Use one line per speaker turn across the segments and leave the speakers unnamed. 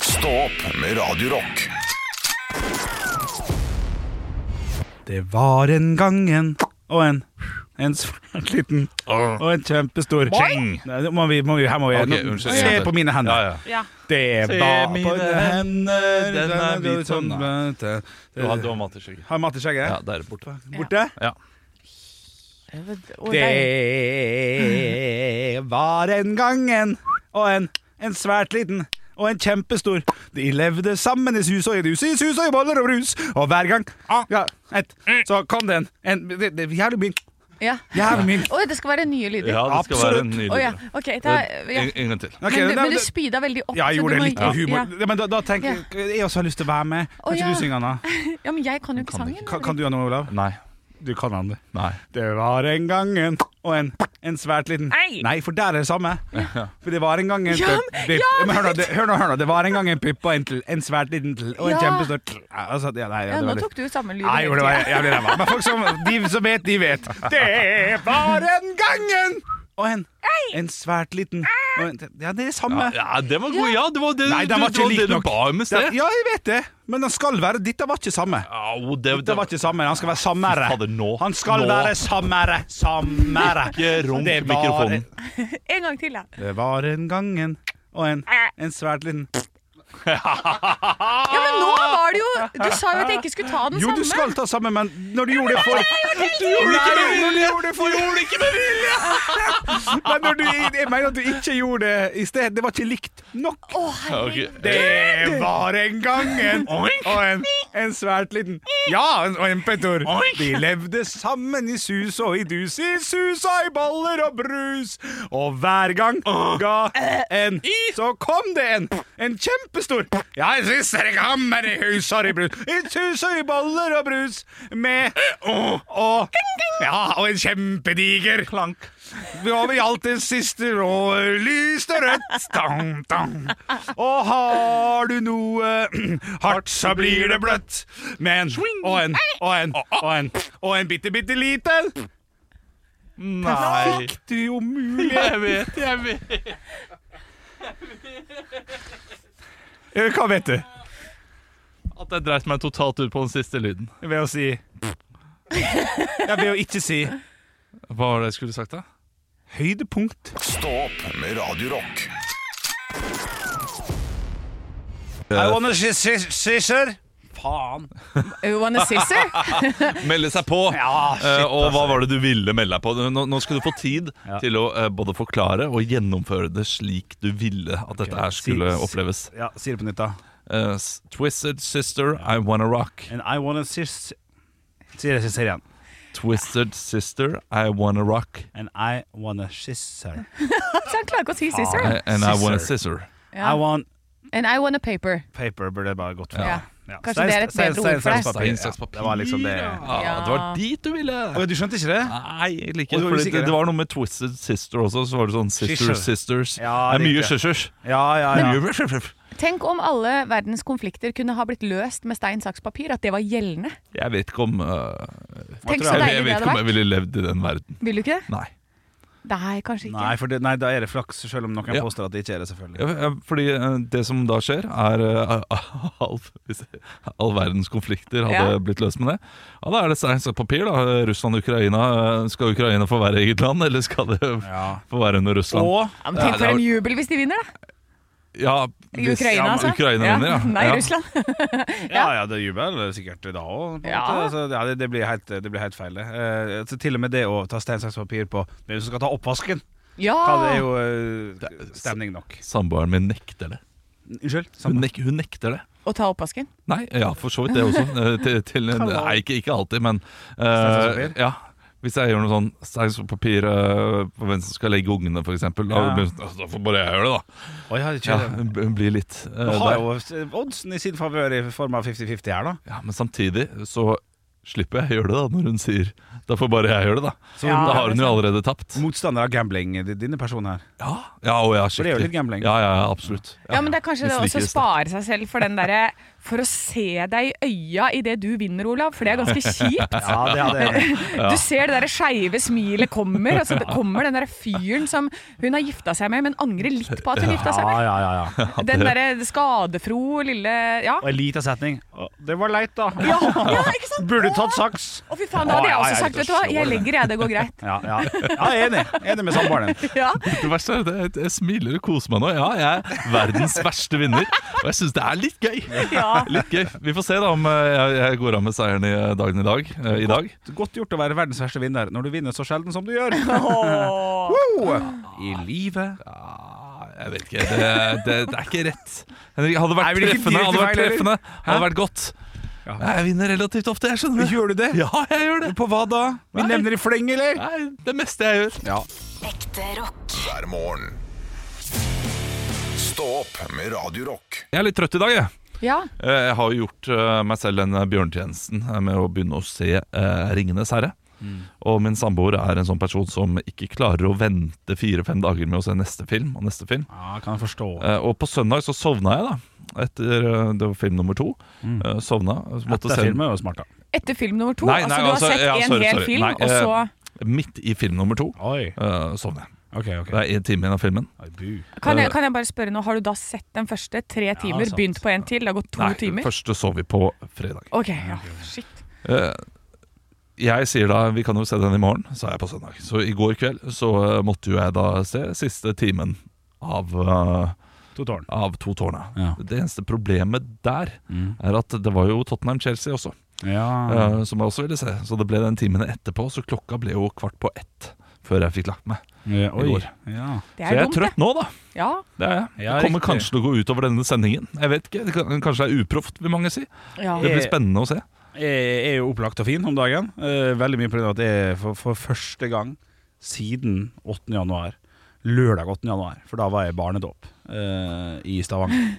Stå opp med Radio Rock
Det var en gang en og en en svært liten og en kjempestor
Boing!
Nei, nå må vi, må vi, her må vi
Ok,
nå-
unnskyld.
Se
Ja.
på mine hender.
Ja, ja.
Ja.
Det er
Se
bare
mine
på hender
den
den
er
er
hvit
sånn,
sånn,
vet
Du har, du har mat i skjegget.
Har Matte
Ja,
skjegget?
der borte.
Borte?
Og der-
Det var en gang en og en, en svært liten og en kjempestor. De levde sammen i sus og i dus, i sus og i boller og brus. Og hver gang
Ah.
ja, et, så kom det en, en det, det, Jævlig mye.
Ja.
Jævlig mye.
Å, det skal være nye lyder.
Ja, det skal være en ny
Å, ja.
lyd.
Ok, da, ja.
En, en gang til.
Ok,
men,
det-
du- men du
det-
speeda veldig opp.
ja, jeg
så
gjorde
du
det
må-
litt med humor.
Ja.
Ja. Men da, da tenker jeg Jeg også har lyst til å være med. Kan
Å,
ikke
ja.
du synge den, da?
ja, men jeg kan jo ikke
Kan
sangen.
Kan, kan du den, Olav?
Nei.
Du kan den. du.
Nei.
Det var en gang en og en, en svært liten
Nei!
for der er det samme. For det var en gang en
Ja,
pip- pip-
ja,
men hør, nå, det, hør nå, hør nå. Det var en gang en pupp og en, til- en svært liten til og en
Ja.
kjempestor til. Ja, Altså, ja, nei, ja,
Ja,
det var
nå
litt-
tok du jo samme lyd.
Nei, jo, det var
hele tiden.
jævlig ræva. Men folk som, de som vet, de vet. Det var en gang en og en, en svært liten og en, Ja, det er det
Ja,
samme.
ja, det var god. Ja, det var det,
Nei, den var
det
ikke
var
lik
det du
nok.
ba om i
Ja,
sted.
ja, jeg vet det, men den skal være Dette var ikke samme.
Au, det,
Dette var ikke samme, han skal være sammere.
Fader, nå.
Han skal
Nå.
være sammere, sammere.
Ikke runk
Det var-
mikrofonen.
En gang til, da.
Det var en gang en og en, en svært liten
Ja, men nå var det jo Du sa jo at jeg ikke skulle ta den
Ah! Jo,
samme.
du skal ta sammen, men når du gjorde det for Du
gjorde det ikke med
Nei, du gjorde det for Du gjorde det ikke med vilje! Men når du, jeg mener at du ikke gjorde det i sted. Det var ikke likt nok.
Å,
Ja,
herregud.
ok.
Det var en gang en og en, en svært liten Ja, en- og en Petter. De levde sammen i sus og i dus, i susa i boller og brus. Og hver gang ga en, så kom det en. En kjempestor. Ja, i siste gammer i hus og i brus, i sus og i boller og brus. Med og Ja, og en kjempediger klank. Over i alt det siste og lyste rødt. Dang, dang. Og har du noe hardt, så blir det bløtt. Men og en, og en, og en, og en bitte, bitte liten.
Nei.
Fikk du jo mulig
Jeg vet, jeg vet.
Eh, Hva vet du?
At jeg dreit meg totalt ut på den siste lyden.
Ved å si Ja, ved å ikke si
Hva var det jeg skulle sagt, da?
høydepunkt.
Stå opp med Radio Rock
I wanna si- si- scissor. Faen.
You wanna scissor?
Melde seg på!
Ja, shit, altså.
Eh, og hva var det du ville melde deg på? Nå, nå skal du få tid til å eh, både forklare og gjennomføre det slik du ville at dette her skulle
Si- si-
oppleves.
Ja, si det på nytt, da.
Eh, s- Twisted Sister, I Wanna Rock.
And I wanna sis... Si det sist igjen.
Twisted Sister, I Wanna Rock.
And I wanna scissor.
Så han klarer ikke å si scissor.
Eh, And I Wanna
Scissor.
Scissor.
I
Ja.
want
And I want a paper.
paper burde det bare gått for.
Ja.
Ja.
Kanskje
Stein-
det er et
stein-
bedre
stein-
ord for deg.
saks, papir.
Stein, saks, papir.
Ja, Det var liksom det.
Ah, det var dit du ville!
Å, Du skjønte ikke det?
Nei, jeg liker
Og du var
ikke fordi
usikker,
det,
ja.
det var noe med Twisted Sister også. Så var det sånn Sister
Scissor.
Sisters.
Ja,
det er mye
riktig.
scissors.
Ja, ja, ja.
Mye ruff, ruff, ruff.
Tenk om alle verdens konflikter kunne ha blitt løst med stein, saks, papir. At det var gjeldende.
Jeg vet ikke om eh,
Tenk så
jeg,
deilig
jeg
det
vet
hadde
ikke om jeg
vært.
ville levd i den verden.
Vil du ikke det?
Nei.
Nei, kanskje ikke.
Nei, for det, nei, da er det flaks, selv om noen
Ja.
påstår at det ikke er det, selvfølgelig.
Ja, ja, fordi eh, det som da skjer, er eh, all, hvis- all verdens konflikter hadde
Ja.
blitt løst med det. Ja, Da er det stein, saks, papir. da Russland og Ukraina. eh, Skal Ukraina få være eget land, eller skal det
Ja.
få være under Russland?
Og
Ja, men tenk
Ja, det
for
var-
en jubel hvis de vinner, da.
ja,
I
hvis-
Ukraina,
ja,
altså.
Ukraina vinner, ja.
Nei,
ja.
Russland.
Ja, ja, det er jubel sikkert da òg.
Ja.
Altså, ja, det, det, blir helt- det blir helt feil, det. Eh, altså, til og med det å ta stein, saks, papir på hvem som skal ta oppvasken,
Ja!
det er jo eh, stemning nok.
Samboeren min nekter det.
Unnskyld?
Hun,
Samme.
nek hun nekter det.
Å ta oppvasken.
Nei, ja, for så vidt det også. Eh, til, til, nei, ikke, ikke alltid, men
saks,
eh,
papir?
ja. Hvis jeg gjør noe sånn stein, saks, papir eh, på hvem som skal legge ungene, f.eks., da,
Ja.
blir hun sånn, da får bare jeg gjøre det, da.
Oi, ja,
Ja,
kjør.
hun b- hun blir litt eh,
Nå har
der.
jo oddsen i sin favør i form av 50-50 her, da.
Ja, Men samtidig så slipper jeg å gjøre det, da, når hun sier da får bare jeg gjøre det, da.
Så
Ja,
da har hun jo allerede tapt.
Motstander av gambling, eh, dine personer her.
Ja, ja og
det
jeg er
er jo
skikkelig-
litt gambling.
Ja, ja, ja, absolutt.
Ja, men det er kanskje det også
Misliker
å
det.
spare seg selv for den derre For å se deg i øya idet du vinner, Olav, for det er ganske kjipt.
Ja, det hadde jeg.
Du ser det derre skeive smilet kommer, og så kommer den derre fyren som hun har gifta seg med, men angrer litt på at hun gifta
Ja,
seg med.
ja, ja, ja.
Den derre skadefro lille Ja.
Og en liten setning. Å, Det var leit, da.
Ja, ja ikke sant?
Burde tatt saks.
Å, fy faen, da hadde
Ja,
jeg
ja,
også
jeg
sagt, vet du hva,
forstår
jeg
det.
legger jeg, det går greit.
Ja, ja. ja jeg er enig. Enig med samboeren din.
Ja.
Det verste er at jeg, jeg smiler og koser meg nå. Ja, jeg er verdens verste vinner, og jeg syns det er litt gøy.
Ja.
Litt gøy. Vi får se da om eh, jeg, jeg går av med seieren i eh, dagen i dag. eh, I dag.
Godt gjort å være verdens verste vinner når du vinner så sjelden som du gjør.
Åh.
Woo! I livet
Ah, Jeg vet ikke. Det, det, det er ikke rett. Henrik,
Nei,
hadde vært
men det er ikke
treffende. Hadde vært,
direkte feil,
treffende.
Hæ?
Hadde vært godt.
Ja.
Jeg vinner relativt ofte, jeg skjønner det.
Gjør du det?
Ja, jeg gjør det.
På hva da? Vi
Nei.
nevner i fleng, eller?
Nei, det meste jeg gjør.
Ja.
Ekte rock.
hver morgen. Stå opp med Radio Rock.
Jeg er litt trøtt i dag, jeg.
ja.
Eh, Jeg har jo gjort eh, meg selv den eh, bjørnetjenesten eh, med å begynne å se eh, 'Ringenes herre'.
Mm.
Og min samboer er en sånn person som ikke klarer å vente fire-fem dager med å se neste film og neste film.
Ja, kan jeg forstå.
Eh, Og på søndag så sovna jeg, da. Etter eh, det var film nummer to.
Mm.
Eh, Sovna. så måtte
Dette
se den-
filmet er jo smart, da.
Etter film nummer to.
Nei, nei,
altså, du har
altså,
sett
ja,
en
sorry,
hel
sorry.
film,
Nei, eh,
og så
Midt i film nummer to
Oi.
eh, sovner jeg.
Ok, ok.
Det er en time igjen av filmen.
Oi, bu.
kan jeg, kan jeg bare spørre nå, har du da sett den første? Tre timer,
Eh, sant.
begynt på en til, det har gått to
Nei,
timer?
første så vi på fredag.
Ok, ja, shit.
Eh, Jeg sier da vi kan jo se den i morgen, sa jeg på søndag. Så i går kveld så eh, måtte jo jeg da se siste timen av, eh,
To tårn.
av To tårna.
Ja. Mm.
Det eneste problemet der er at det var jo Tottenham-Chelsea også,
Ja.
eh, som jeg også ville se. Så det ble den timen etterpå, så klokka ble jo kvart på ett før jeg fikk lagt meg.
ja. Oi.
går.
Ja.
Det
Så jeg
er
er
dumt, det.
trøtt nå, da.
Ja.
Det er jeg.
Ja,
det kommer
riktig.
kanskje til å gå utover denne sendingen. Jeg vet ikke, det kan, Kanskje det er uproft, vil mange si.
ja.
Det blir spennende å se.
Jeg Eh, er jo opplagt og fin om dagen. Eh, veldig mye pga. at jeg for, for første gang siden 8. januar, lørdag 8. januar, for da var jeg i barnedåp eh, i Stavanger,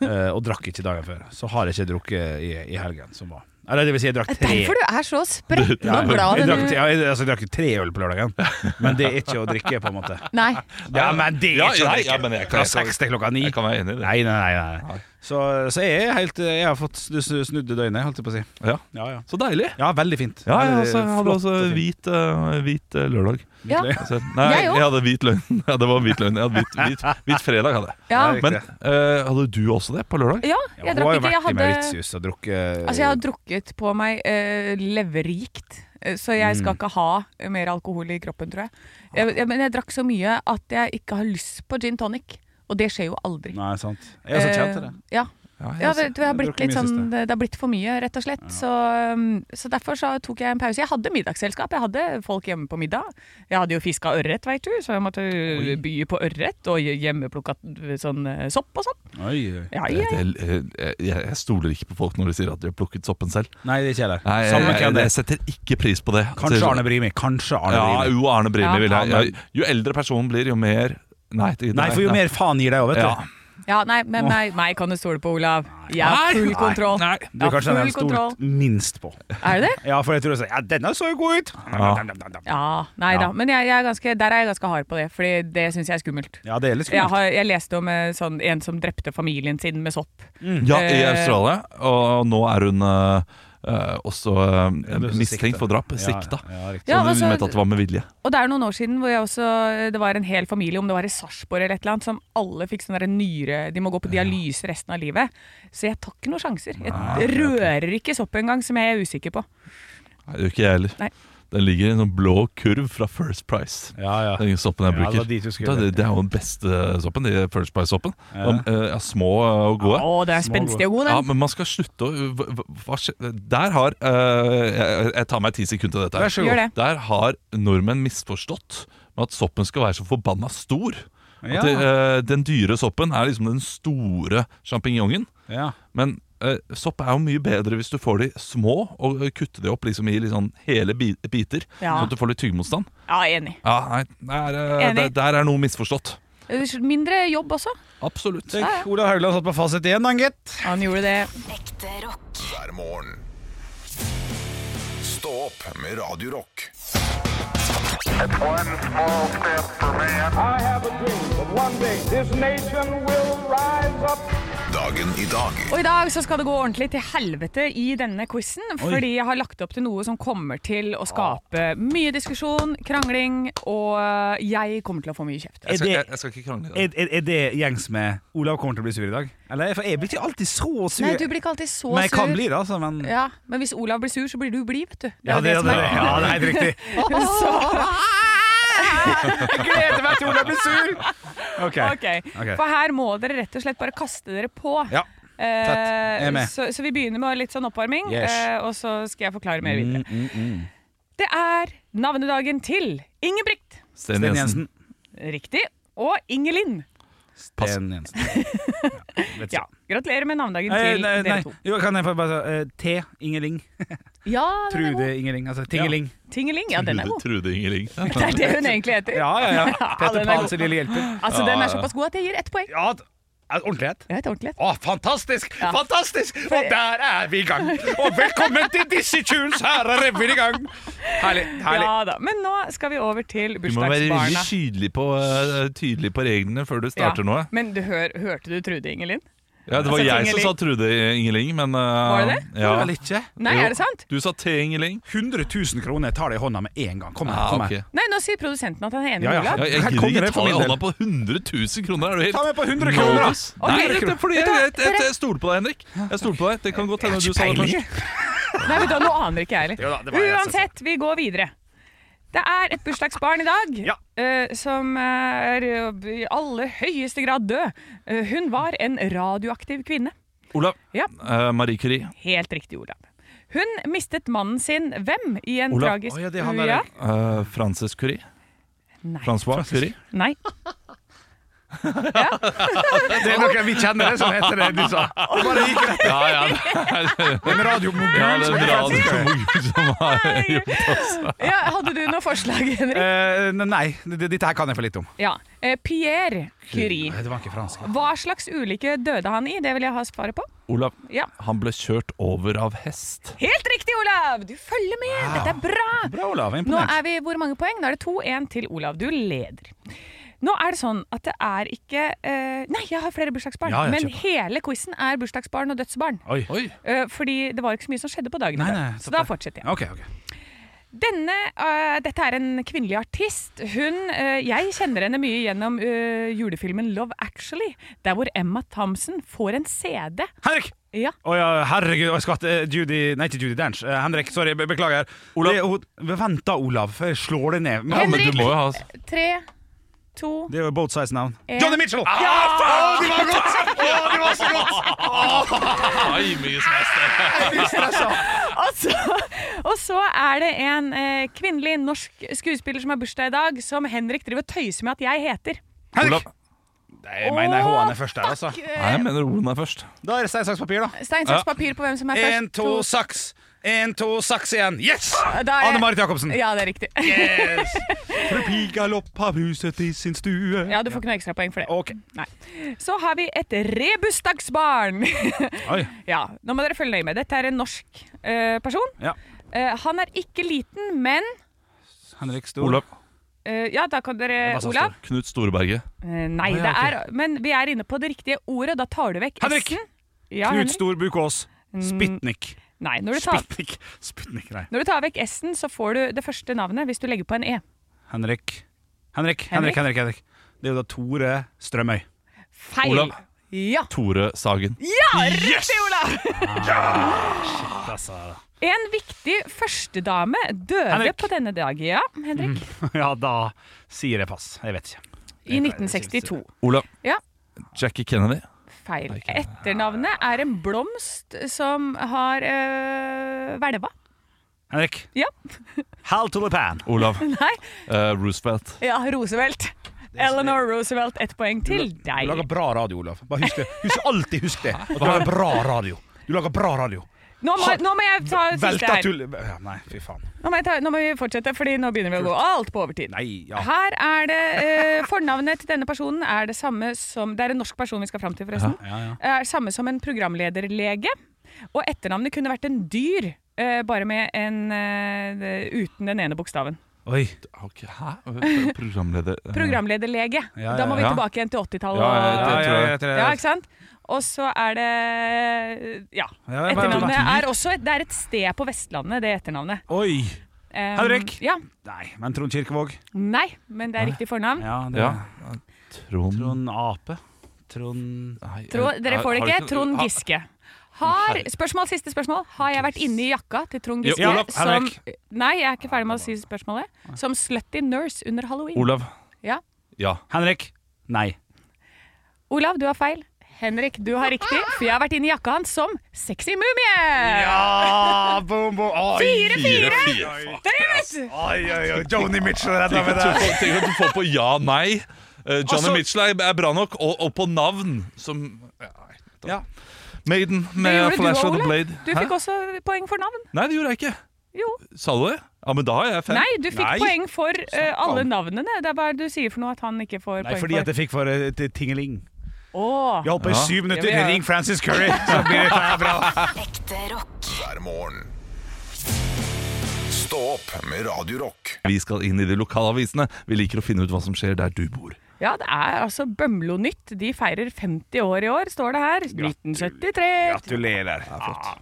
eh, og drakk ikke dagen før. Så har jeg ikke drukket i, i helgen som var. Eller det vil si, jeg drakk
Det er
tre.
Eh, Derfor du er så spretten og glad
jeg
denne
drakk, ja, jeg, altså, jeg drakk tre øl på lørdagen, men det er ikke å drikke, på en måte.
Nei.
Ja, men det er
Ja,
ikke å
nei,
drikke.
ja, men jeg kan-
Fra
jeg kan-
seks til klokka ni.
Jeg kan være enig i det.
Nei, nei, nei. nei. Så, så jeg, er helt, jeg har fått snu- snu- snudd døgnet, holdt jeg på å si.
Ja.
Ja, ja.
Så deilig.
Ja, altså, veldig fint.
Ja, jeg
Veldig
også, jeg hadde
flott
også
og fint.
hvit, eh, hvit eh, lørdag.
Ja.
Så, nei,
Jeg
jeg,
også.
hadde hvit løgn. Ja, det var hvit løgn. Jeg hadde hvit, hvit, hvit fredag. hadde jeg
Ja.
Riktig.
Men eh, hadde du også det på lørdag?
ja, jeg drakk
Hun har jo
ikke. Jeg
vært i
hadde
Mauritius og drukket
Altså, jeg har drukket på meg eh, leverrikt, eh, så jeg
Mm.
skal ikke ha mer alkohol i kroppen, tror jeg. jeg. jeg- Men jeg drakk så mye at jeg ikke har lyst på gin tonic, og det skjer jo aldri.
Nei, sant. Jeg er så kjent til det.
Eh, ja.
Ja, jeg
Ja,
også.
det, det, har
Jeg
blitt
drukker
litt
mye
sånn, det har blitt for mye, rett og slett. Så, um, så derfor så tok jeg en pause. Jeg hadde middagsselskap, jeg hadde folk hjemme på middag. Jeg hadde jo fiska ørret, veit du, så jeg måtte by på ørret og hjemmeplukka sånn eh, sopp og sånn.
Oi, oi.
Ja,
Det-
ja.
det- eh, jeg, jeg stoler ikke på folk når de sier at de har plukket soppen selv.
Nei, det er ikke jeg heller.
Nei, jeg,
Samme
jeg,
hvem
jeg,
det er.
setter ikke pris på det.
Kanskje
Så-
Arne Brimi. Kanskje Arne
Ja,
Brimi.
jo, Arne Brimi
Ja.
vil jeg.
Ja,
Ja, jo eldre personen blir, jo mer Nei, det-
Nei, for jo mer faen gir deg òg, vet du.
Ja.
ja nei, men meg, meg kan du stole på, Olav. Jeg har
Nei,
full
nei,
kontroll.
nei.
Du er
Ja,
kanskje den jeg
full kontroll.
stolt minst på.
Er du det?
Ja, for jeg tror du sier Ja, denne så jo god ut! Ja.
Ja, nei da.
Ja.
Men jeg, jeg er ganske, der er jeg ganske hard på det, Fordi det syns jeg er skummelt.
Ja, det er litt
Jeg,
skummelt.
har, jeg leste om eh, sånn, en som drepte familien sin med sopp.
Ja, i
Eh,
Australia. Og nå er hun eh, eh, også eh,
Ja, du er så sikta.
mistenkt for drap. Sikta.
Ja, ja, riktig.
Så
Ja,
hun
altså-
mente at det var med vilje.
Og det er noen år siden hvor jeg også, eh, det var en hel familie, om det var i Sarpsborg eller et eller annet, som alle fikk sånn derre nyre De må gå på dialyse resten av livet. Så jeg tar ikke noen sjanser. Jeg rører ikke sopp engang, som jeg er usikker på.
Nei, det gjør ikke jeg heller.
Nei.
Den ligger i en sånn blå kurv fra First Price.
Ja, ja.
Den soppen jeg
Ja, det
bruker.
var dit du
Da,
skulle.
det, det er jo den beste soppen, de First Price-soppen.
Ja.
De, eh, ja, små eh, og gode.
Å, det er
Små
spenstig og god,
Ja,
den.
men man skal slutte å hva, hva, skje- Der har eh, jeg, jeg tar meg ti sekunder til dette.
Vær
her.
så god.
Gjør det.
Der har nordmenn misforstått med at soppen skal være så forbanna stor.
Ja.
At det, eh, den dyre soppen er liksom den store sjampinjongen.
Ja.
Men eh, sopp er jo mye bedre hvis du får de små og eh, kutter de opp liksom i litt sånn hele bi biter.
Ja.
Sånn at du får litt tyggemotstand.
Ja, enig.
Ja, nei, der, eh,
Enig.
der, der er noe misforstått.
Eh, Mindre jobb også.
Absolutt.
Tenk, Olav Haugland satt på fasit igjen, han, gitt.
Han gjorde det.
Ekte rock.
hver morgen. Stå opp med Radio Rock.
One small step for man.
I have a dream that one day this nation will rise up.
Dagen i dag
Og i dag så skal det gå ordentlig til helvete i denne quizen, fordi jeg har lagt opp til noe som kommer til
Ah.
å skape mye diskusjon, krangling, og eh, jeg kommer til å få mye kjeft.
Jeg
Er
skal,
det-
jeg, jeg skal ikke krangle i
Er,
dag.
er, er det gjengs med Olav kommer til å bli sur i dag? Eller? For jeg blir ikke alltid så sur.
Nei, du blir ikke alltid så
men jeg kan
sur.
bli det, altså. Men...
Ja, men hvis Olav blir sur, så blir du blid, vet du. Det
Ja,
jo
det, det,
som
det,
er-
ja, det er helt riktig. Jeg gleder meg til Olav blir sur! Ok.
ok, For her må dere rett og slett bare kaste dere på.
Ja.
Eh,
Jeg er med.
så, så vi begynner med litt sånn oppvarming,
Yes. Mm,
eh, og så skal jeg forklare mer videre. Det er navnedagen til Ingebrigt.
Sten
Sten
Jensen.
Jensen.
Riktig. Og Ingelin.
Pass.
Sten Jensen. Vet
Ja, gratulerer med navnedagen
Eh,
til
nei, nei.
dere to.
Jo, kan jeg få bare si eh, T. Ingeling.
Ja, den er god.
Trude Ingeling. Altså Tingeling.
Tingeling. Ja, den er god.
Trude Ingeling.
Det er det hun egentlig heter.
Ja, ja, ja.
den
Petter
er
Pans
god.
lille hjelper.
Altså, Den er såpass god at jeg gir ett poeng.
Ja, d- er det ordentlig het?
Jeg vet ordentlig.
Å, fantastisk!
Ja.
Fantastisk! Og der er vi i gang! Og velkommen til disse tunes, her er revyen i gang! Herlig. herlig.
Ja da, Men nå skal vi over til
Du må være
bursdagsbarna.
veldig tydelig på, eh, tydelig på reglene før du starter noe.
Men du hør, hørte du Trude Ingelin?
Ja, det var
Altså,
jeg som
Tingeling.
sa Trude Ingeling, men Var
det det?
Ja.
Var det vel ikke?
Nei,
Jo.
er det sant?
Du sa T. Ingeling.
100 000 kroner tar det i hånda med en gang. Kom her.
Ah,
Kom
ok.
her.
Nei, nå sier produsenten at han er enig
Ja,
med
ja.
Olav.
Ja, jeg
Her
gidder
kommer
ikke
det for
ta i
min del.
hånda på 100 000 kroner. Er du helt
Ta med på 100 kroner, da!
Malus? Nei, det er fordi jeg, jeg, jeg, jeg stoler på deg, Henrik. Jeg stoler på deg. Det kan godt hende du sa det først.
Nei, vet du, hva, Nå aner ikke jeg
Jo da, det
heller.
var jeg altså. som
Uansett, vi går videre. Det er et bursdagsbarn i dag
Ja.
eh, som er eh, i aller høyeste grad død. Eh, hun var en radioaktiv kvinne.
Olav.
Ja.
Eh, Marie Curie.
Helt riktig, Olav. Hun mistet mannen sin hvem i en
Olav.
tragisk
Å, ja, det er han der.
Ja?
Eh, Frances Curie.
Nei.
Francois Curie.
Nei.
Det er noen vi kjenner det som heter det du sa. Det bare gikk rett.
Ja, ja. det-
En radiomogul.
Ja, det
som
er
heter
bra
Francis Køy.
som, som har gjort
Ja, hadde du noe forslag, Henrik?
Eh, nei, det- dette her kan jeg for litt om.
Ja. Eh, Pierre Curie.
Nei, Det var ikke fransk.
Hva slags ulykke døde han i? Det vil jeg ha svaret på.
Olav,
Ja.
han ble kjørt over av hest.
Helt riktig, Olav! Du følger med! Dette er bra!
Bra, Olav.
Nå
Imponert.
er vi hvor mange poeng? Nå er det 2-1 til Olav. Du leder. Nå er det sånn at det er ikke eh, Nei, jeg har flere bursdagsbarn.
Ja, jeg
men
kjøper.
hele quizen er bursdagsbarn og dødsbarn.
Oi.
Oi.
Eh, fordi det var ikke så mye som skjedde på dagen. i
Nei,
dag.
nei,
så
topp
da
det.
fortsetter jeg.
Ok, ok.
Denne, eh, dette er en kvinnelig artist. Hun, eh, jeg kjenner henne mye gjennom eh, julefilmen Love Actually, der hvor Emma Thompson får en CD.
Henrik!
Ja,
Å ja, herregud, å, jeg skvatt. Eh, Judy Nei, ikke Judy Dench. Eh, Henrik, sorry, be beklager. Olav. Det, hun, vent da, Olav, før jeg slår deg ned. Men-
Ja, men
Henrik!
du må jo ha
Tre, to
Det er jo both sides navn.
Eh.
Johnny Mitchell!
Ah,
Ja, faen! Å, det var godt! Å, det var så godt!
Oi, mye smaste.
Og så, og så er det en eh, kvinnelig norsk skuespiller som har bursdag i dag, som Henrik driver og tøyser med at jeg heter.
Henrik!
Olav.
Nei, jeg mener jeg H-en er først der, altså.
Nei, jeg mener Olen er først.
Da er det stein, saks, papir, da.
Stein, saks, papir på hvem som er først.
Én, to, saks. Én, to, saks igjen. Yes!
Da er jeg-
Anne Marit Jacobsen.
Ja, det er riktig.
Yes! Fru Pigalopp har huset i sin stue.
Ja, Du får ikke noe ekstrapoeng for det.
Ok.
Nei. Så har vi et rebusdagsbarn.
Oi.
ja, nå må dere følge nøye med. Dette er en norsk eh, person.
Ja.
Eh, han er ikke liten, men
Henrik Stor.
Olav.
eh, Ja, da kan dere
var så
Olav.
Knut Storberget.
Eh, nei,
Å, ja,
det er
ok.
Men vi er inne på det riktige ordet. Da tar du vekk
Henrik!
S-en. Ja,
Knut
Henrik.
Storbukk Aas. Spytnik.
Nei, når du tar
Spytnik. Spytnik, nei.
Når du tar vekk S-en, så får du det første navnet hvis du legger på en E.
Henrik. Henrik, Henrik, Henrik. Henrik. Det er jo da Tore Strømøy.
Feil.
Olav.
Ja.
Tore Sagen.
Riktig, Olav! En viktig førstedame døde
Henrik. Mhm.
på denne dag, ja, Henrik,
Ja, da sier jeg pass. Jeg vet ikke.
i 1962.
Olav.
Ja.
Jackie Kennedy.
Feil. Etternavnet er en blomst som har øh, hvelva.
Henrik.
Ja.
Hal Tulipan.
Olav.
Nei.
Eh, Roosevelt.
Ja, Roosevelt. Eleanor Roosevelt, ett poeng til
Du lager
deg.
bra radio, Olav. Bare husk det. Husk alltid husk det. At du lager bra radio. Du lager bra radio.
Nå må, nå må jeg ta siste
Velta
her.
tull... Ja, nei, fy faen.
Nå må, jeg ta, nå må vi fortsette, fordi nå begynner vi å gå alt på overtid.
Nei, ja.
Her er det eh, Fornavnet til denne personen er det samme som Det er en norsk person vi skal fram til, forresten.
Ja, ja.
Er samme som en programlederlege. Og etternavnet kunne vært en dyr. eh, eh, bare med en eh, uten den ene bokstaven.
Oi.
Ok, hæ? Programleder eh,
Programlederlege.
Ja,
Da må vi
ja.
tilbake igjen til 80-tallet.
Ja,
og-
ja, tror jeg.
tror
Ja, ikke sant? Og så er det Ja.
Ja, ja,
Etternavnet
hva-
er også et, Det er et sted på Vestlandet, det etternavnet.
Oi.
Um,
Henrik?
Ja.
Nei, men Trond Kirkevåg.
Nei, men det er riktig fornavn.
Ja, det
Ja.
er
Trond,
Trond Ape. Trond
Nei, jeg-
Trond, dere får det
har
ikke.
du
Trond
ha-
Giske. Har, spørsmål, Siste spørsmål. Har jeg vært inni jakka til Trond Giske
Jo, Olav,
som
Henrik.
Nei, jeg er ikke ferdig med å si spørsmålet. Som slutty nurse under halloween.
Olav.
Ja.
Ja.
Henrik. Nei.
Olav, du har feil. Henrik, du har riktig, for jeg har vært inni jakka hans som sexy mumie!
Ja, Ah, boom, boom. Oi,
Fire, fire! Dere vet!
oi, oi, oi. Joni Mitchell redda
Tenk
meg
at du
der.
får- tenk at du får på ja, nei. Eh, Johnny
Altså-
Mitchell er, er bra nok, og, og på navn som ja, nei, da-
Ja.
Maiden
Det
med
gjorde du
Flash
også,
of the
Olav.
Blade.
Du
Hæ?
fikk også poeng for navn.
Nei, det gjorde jeg ikke.
Jo.
Sa du det? Ja, men da har jeg fem.
Nei, du
Nei.
fikk poeng for eh, alle navnene. Det er bare du sier for noe at han ikke får
Nei,
poeng
fordi at
for.
jeg fikk for et tingeling.
Åh.
Jeg holdt på i
Ja.
syv minutter.
Ja, vi er-
Ring Francis Curry, så blir dette bra.
Ekte rock.
hver morgen. Stå opp med Radio Rock.
Vi skal inn i de lokalavisene. Vi liker å finne ut hva som skjer der du bor.
Ja, det er altså Bømlo Nytt. De feirer 50 år i år, står det her. 1973.
Gratulerer. Ah.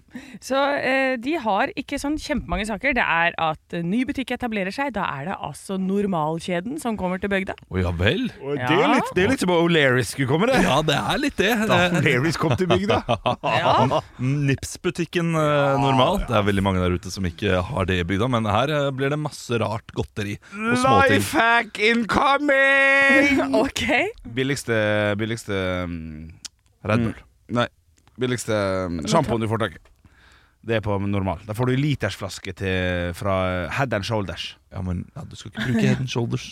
Så eh, de har ikke sånn kjempemange saker. Det er at eh, ny butikk etablerer seg. Da er det altså Normalkjeden som kommer til bygda.
Å ja vel?
Og Det
Ja.
er litt, det er litt som om O'Leary skulle komme, det.
Ja, det er litt det.
Da
Eh,
O'Learys kom til bygda.
Ja.
Nipsbutikken eh, normalt. Det er veldig mange der ute som ikke har det i bygda, men her eh, blir det masse rart godteri og småting.
Lifehack incoming!
OK.
Billigste Billigste mm,
Red Bull.
Nei. Billigste mm, sjampoen du får tak i. Det er på normal. Da får du en litersflaske til, fra Head and Shoulders.
Ja, men ja, du skal ikke bruke head and shoulders.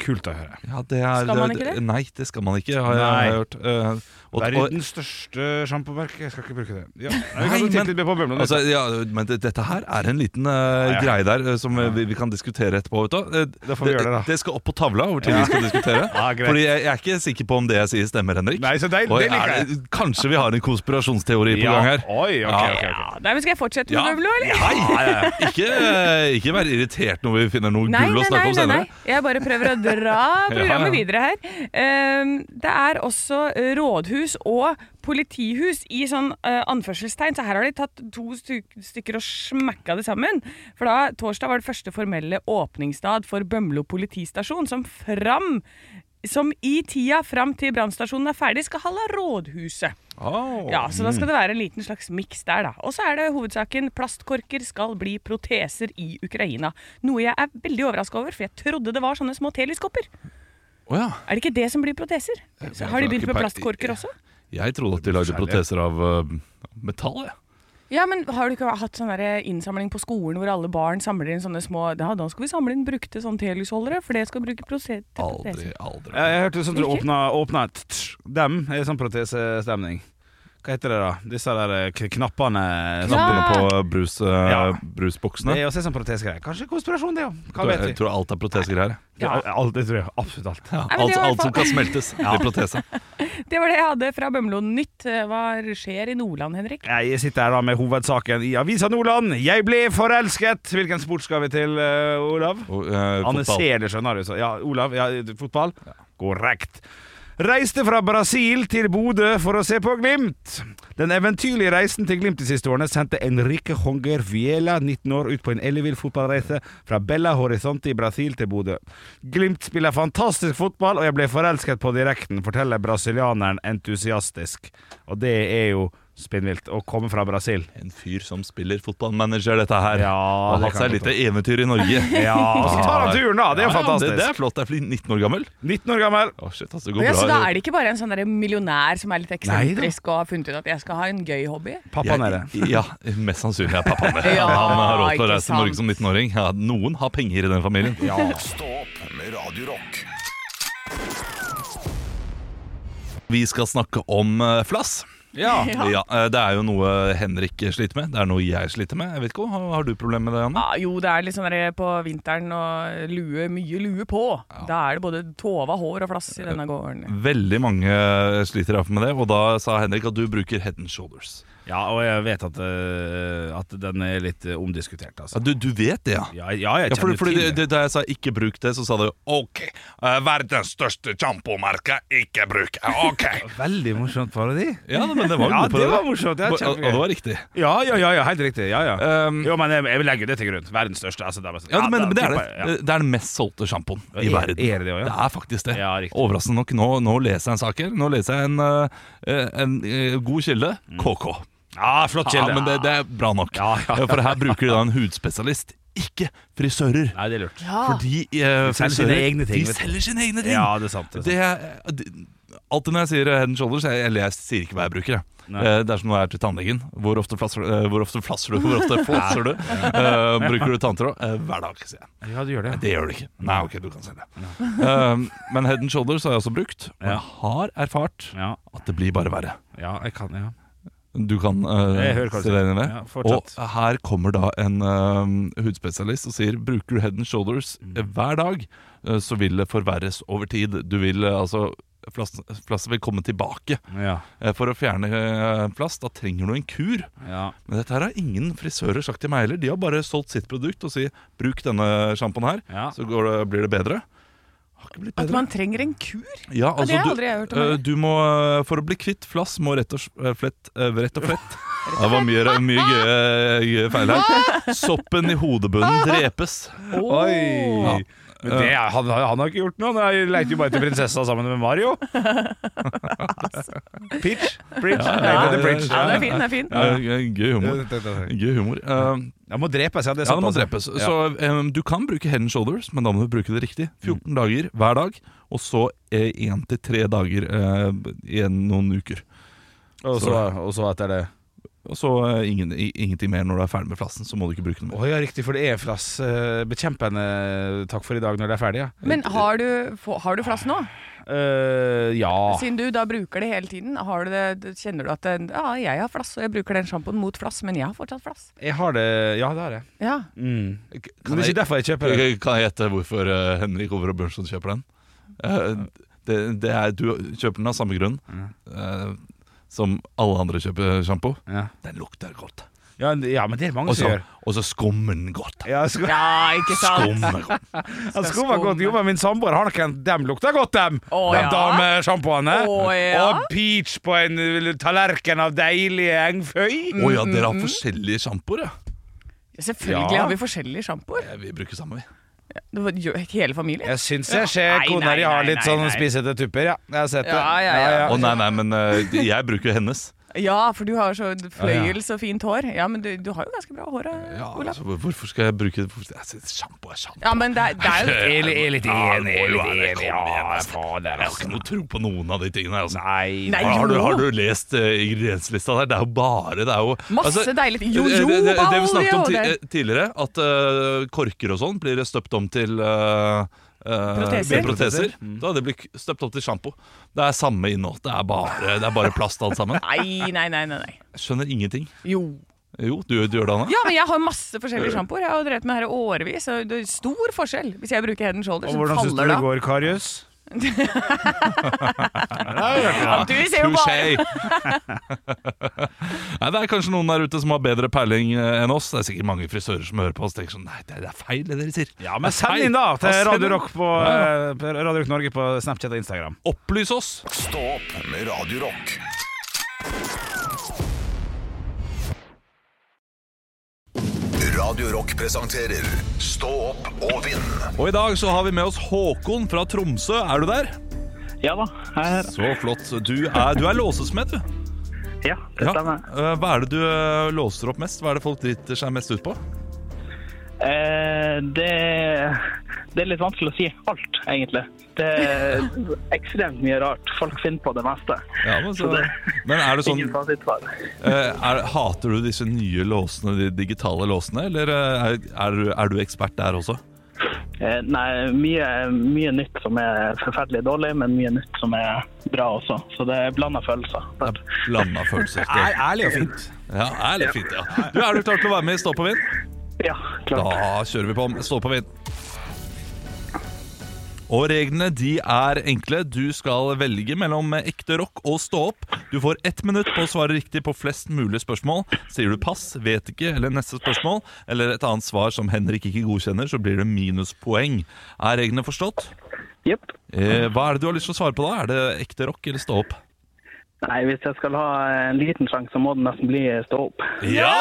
Kult å høre.
Ja, det er,
Skal man ikke det?
Nei, det skal man ikke, har jeg,
Nei.
har jeg hørt. Eh, og, og,
Verdens største sjampomerke. Jeg skal ikke bruke det. Ja. Jeg
Nei,
kan titte
men-
litt mer på Bømlo.
altså, ja, men det, dette her er en liten eh,
ja.
greie der eh, som eh, vi, vi kan diskutere etterpå. Vet du. Eh,
Da får vi gjøre det, da.
Det skal opp på tavla over til vi skal diskutere.
Ja, greit.
Fordi jeg, jeg er ikke sikker på om det jeg sier, stemmer, Henrik.
Nei, så det-
Og
det liker
er- Kanskje vi har en konspirasjonsteori på gang her.
Oi, ok,
Ja.
ok, ok.
Ja, nei, men skal jeg fortsette med
Ja.
Bømlo, eller?
Nei, ikke, ikke vær irritert når vi finner noe
Nei,
gull å
nei,
snakke
nei, nei,
om senere.
nei. Jeg bare prøver å dra programmet
Ja.
videre her. Ehm, det er også eh, rådhus og politihus i sånn eh, anførselstegn, så her har de tatt to styk- stykker og smakka det sammen. For da, torsdag var det første formelle åpningsdag for Bømlo politistasjon, som fram som i tida fram til brannstasjonen er ferdig, skal halla rådhuset.
Au.
Ja, Så da
mm.
skal det være en liten slags miks der, da. Og så er det hovedsaken plastkorker skal bli proteser i Ukraina. Noe jeg er veldig overraska over, for jeg trodde det var sånne små telyskopper.
Å ja. Eh, altså,
Er det ikke det som blir proteser? Så har de begynt med plastkorker også?
Jeg trodde at de lagde
Forskjellig.
proteser av eh, metall. jeg.
Ja, men har du ikke hatt sånn der innsamling på skolen hvor alle barn samler inn sånne små Ja, da skal vi samle inn brukte sånn telysholdere, for det skal bruke prose- til
Aldri,
proteser.
aldri.
Jeg, jeg hørte sånn at du
Ikke?
åpna, åpna et tsk, dem i sånn protesestemning. Hva heter det, da? Disse der eh, k- knappene
Knappene
Ja.
på brus, eh,
Ja.
brusboksene.
Det er også en sånn protesgreie. Kanskje konspirasjon, det òg. Hva
Jeg tror-
vet
jeg
vi?
tror alt er protesegreier.
Ja.
Alt, det tror jeg. Absolutt alt.
Ja,
Nei, men
alt,
det var i
alt som
hvert
kan smeltes, blir protese.
Det var det jeg hadde fra Bømlo Nytt. Eh, Hva skjer i Nordland, Henrik?
Jeg sitter her da med hovedsaken i Avisa Nordland. 'Jeg ble forelsket'. Hvilken sport skal vi til, eh, Olav?
Og, eh,
Anne
fotball.
ser det, skjønner du. Så, ja, Olav, ja, fotball? Korrekt. Reiste fra Brasil til Bodø for å se på Glimt. Den eventyrlige reisen til Glimt de siste årene sendte Enrique Honger Viela, 19 år, ut på en ellevill fotballreise fra Bella Horizonte i Brasil til Bodø. Glimt spiller fantastisk fotball, og jeg ble forelsket på direkten, forteller brasilianeren entusiastisk. Og det er jo spinnvilt å komme fra Brasil.
En fyr som spiller fotballmanager, dette her.
Ja,
og
det
hatt
kan
seg
jeg
litt
ta.
eventyr i Norge.
Ja, og så tar han turen, da. Det er jo
Ja, ja,
fantastisk.
Det, det er flott. Jeg blir 19 år gammel.
19 år gammel.
Å, shit, altså, det går
Ja, så da
bra.
er det ikke bare en sånn der millionær som er litt eksentrisk og har funnet ut at jeg skal ha en gøy hobby?
Pappaen er det.
Jeg- Ja, mest sannsynlig er pappaen det.
Ja,
Han har råd til å
ikke
reise til Norge
sant.
som 19-åring. Ja, noen har penger i den familien.
Stå opp med Radio Rock.
Vi skal snakke om eh, flass.
Ja.
Ja.
Ja, eh, Det er jo noe Henrik sliter med. Det er noe jeg sliter med. Jeg vet ikke, Har har du problemer med det, Anne?
Ja, jo, det er litt sånn der på vinteren og lue, mye lue på. Da er det både tova, hår og flass i denne
Eh,
gården.
Veldig mange sliter iallfall med det, og da sa Henrik at du bruker head and shoulders.
Ja, og jeg vet at, eh, at den er litt eh, omdiskutert, altså.
Ja, du, du vet det, ja?
Ja, ja jeg
Ja, fordi,
kjenner
fordi det,
til det.
det, Da jeg sa 'ikke bruk det', så sa du 'OK, eh, verdens største sjampomerke, ikke bruk'. OK.
Veldig morsomt parodi.
Ja, men det var jo
Ja,
god på
det
det.
var morsomt. Det er
Og- og, og det var riktig.
Ja, ja, ja, ja helt riktig. Ja, ja.
Um,
jo, men jeg, jeg vil legge det til grunn. Verdens største. Altså, det er bare sånn-
Ja, men,
da
men det er
tipper
det.
jeg, ja.
Det er den mest solgte sjampoen i
Er-
verden.
er det det også, ja?
Det er faktisk det.
Ja, riktig.
Overraskende nok. Nå, nå leser jeg en sak her. Nå leser jeg en, eh, en, eh, god kilde. KK.
Ja, flott
Ja,
kilde.
men det, det er bra nok.
Ja, ja.
For her bruker de da en hudspesialist, ikke frisører.
Nei, det er lurt.
Fordi
selger
eh,
sine
frisører,
egne ting,
De
vet du.
selger sine egne ting.
Ja, det er sant. Det er sant.
Det er, det- alltid når jeg sier eh, head and shoulders, jeg, eller jeg sier ikke hva jeg bruker. Jeg.
Nei.
Eh, Det er som når jeg er til tannlegen. Hvor ofte flasser, eh, hvor ofte flasser du? Hvor ofte flasser du? Eh, bruker du tanntråd? Eh, hver dag, sier jeg.
Ja, du gjør det.
Det gjør du ikke. Nei, ok, du kan si det. Um, men head and shoulders har jeg også brukt, og
Ja.
jeg har erfart
Ja,
at det blir bare verre.
ja jeg kan ja.
Du kan uh,
Jeg hører hva du
si deg
sier.
inn i det.
Ja,
og
fortsett.
her kommer da en um, hudspesialist og sier bruker du head and shoulders eh,
Mm.
hver dag, eh, så vil det forverres over tid. Du vil eh, altså Plast, plast vil komme tilbake.
Ja,
Eh, For å fjerne eh, plast, da trenger du en kur.
ja.
Men dette her har ingen frisører sagt til meg heller. De har bare solgt sitt produkt og sier 'bruk denne sjampoen her,
Ja.
så går det, blir det bedre'. Har ikke blitt
At
bedre.
man trenger en kur?
Ja,
Ja, det har
du,
aldri jeg hørt om
eh,
heller.
du må, eh, For å bli kvitt flass må rett og s- eh, flett eh, Rett og flett Det var mye, mye gøye, gøye feil her. Soppen i hodebunnen drepes.
Oi!
Ja.
Men det, er- han, han har ikke gjort noe. Han lekte jo bare til prinsessa sammen med Mario. Peach. Bridge.
Ja,
Lekte
ja,
til
ja,
Bridge.
Ja, den er fin. den er fin.
Eh, Gøy humor. Gøy humor. Eh,
Han må drepes, ja. Det er
Ja,
sant,
Mm. det må
altså.
drepes. Så em, du kan bruke head and shoulders, men da må du bruke det riktig. 14 dager hver dag, og så én til tre dager eh, igjen noen uker.
Og så, og så etter det
Og så eh, ingen, i- ingenting mer når du er ferdig med flassen, så må du ikke bruke den
Å
mer.
ja, riktig, for det er flassbekjempende. Takk for i dag når det er ferdig, ja.
Men har du, få- har du flass nå?
Eh, ja.
Siden du da bruker det hele tiden, har du det, kjenner du at det, ja, jeg har flass, og jeg bruker den sjampoen mot flass, men jeg har fortsatt flass.
Jeg har det Ja, det har jeg.
Ja.
Mm. Men det
Kan
er
jeg,
ikke derfor jeg kjøper det.
kan jeg gjette hvorfor eh, Henrik Over og Bjørnson kjøper den? Eh, det, det er, du kjøper den av samme grunn eh, som alle andre kjøper sjampo.
Ja,
Den lukter godt.
ja, ja men det er det mange
Og
som
så
gjør.
og så skummer den godt.
Ja, sko
Ja, ikke sant?
Skummer godt.
han skummer godt. Jo, men min samboer, han kan Dem lukter godt, dem!
Å,
de
ja.
damesjampoene.
Å, ja.
Og peach på en uh, tallerken av deilig engføy.
Mm.
Å ja, dere
mm,
har forskjellige sjampoer, ja.
Ja, Selvfølgelig
Ja.
har vi forskjellige sjampoer.
Ja, Vi bruker samme, vi.
Det var jo- Hele familien.
Jeg syns jeg ser
Nei,
koner
nei,
de har
nei,
litt
nei,
sånn
nei.
spissete tupper, ja. Jeg har sett det.
Ja, ja, ja.
Å nei, nei, men eh, jeg bruker jo hennes.
Ja, for du har så fløyels og fint hår. Ja, men du, du har jo ganske bra hår, eh,
Ja,
Olav.
altså, hvor- hvorfor skal jeg bruke hvorfor- Jeg synes Sjampo er sjampo.
Ja, men det, er- det er jo
Jeg er litt- jeg er litt
Ja,
enig. Jeg er
det må jo
litt
være det.
enig.
Kom igjen,
Ja,
altså.
fader,
Jeg har ikke
altså.
noe tro på noen av de tingene. her, Altså.
Nei.
Nei,
Har, har, du,
jo.
har du lest eh, ingredienslista der? Det er jo bare det er jo, altså, eh,
Masse deilig
det, det, det, det, vi snakket om
jojobaolje,
ti
og
eh, tidligere, at eh, korker og sånn blir støpt om til eh, eh,
Proteser.
proteser. Da hadde det blitt støpt om til sjampo. Det er samme innhold. Det er bare, det er bare plast alt sammen.
Nei, nei, nei, nei, nei.
Jeg skjønner ingenting.
Jo.
Jo, du, du gjør det, Anna?
Ja, men jeg har masse forskjellige
Eh.
sjampoer. Jeg har jo drevet med det her i årevis, og det er stor forskjell. Hvis jeg bruker Head Shoulders,
Og
så
hvordan syns du
faller det
det
av.
går, Karius?
Ja, du ser jo bare
Touché. nei, det er kanskje noen der ute som har bedre peiling eh, enn oss. Det er sikkert mange frisører som hører på oss og tenker sånn Nei, det det er feil det dere sier.
Ja, men
Det er
send
feil.
inn, da, til
Ja, send
Radio
inn.
Rock, på, eh, på Radio Rock Norge på Snapchat og Instagram.
Opplys oss!
Stå opp med Radio Rock. Radio Rock presenterer Stå opp og vinn
Og i dag så har vi med oss Håkon fra Tromsø. Er du der?
Ja da, her.
Så flott. Du er, du er låsesmed, du.
Ja, det stemmer.
Eh, Hva er det du eh, låser opp mest? Hva er det folk driter seg mest ut på?
Eh, det, det er litt vanskelig å si alt, egentlig. Det er ekstremt mye rart. Folk finner på det meste.
Ja, men, så,
Så det-
men er det sånn
Ingen tar sitt svar.
eh, er, Hater du disse nye låsene, de digitale låsene, eller eh, er, er, du- er du ekspert der også?
Eh, Nei, mye, mye nytt som er forferdelig dårlig, men mye nytt som er bra også. Så det er blanda følelser.
Blanda følelser.
Er, ærlig og fint.
Ja, ærlig fint, ja. Du, Er du klar til å være med i Stå på vind?
Ja, klart.
Da kjører vi på med Stå på vind. Og reglene de er enkle. Du skal velge mellom ekte rock og stå opp. Du får ett minutt på å svare riktig på flest mulig spørsmål. Sier du pass, vet ikke eller neste spørsmål, eller et annet svar som Henrik ikke godkjenner, så blir det minuspoeng. Er reglene forstått?
Jepp.
Eh, hva er det du har lyst til å svare på da? Er det ekte rock eller stå opp?
Nei, hvis jeg skal ha en liten sjanse, så må det nesten bli stå opp.
Ja!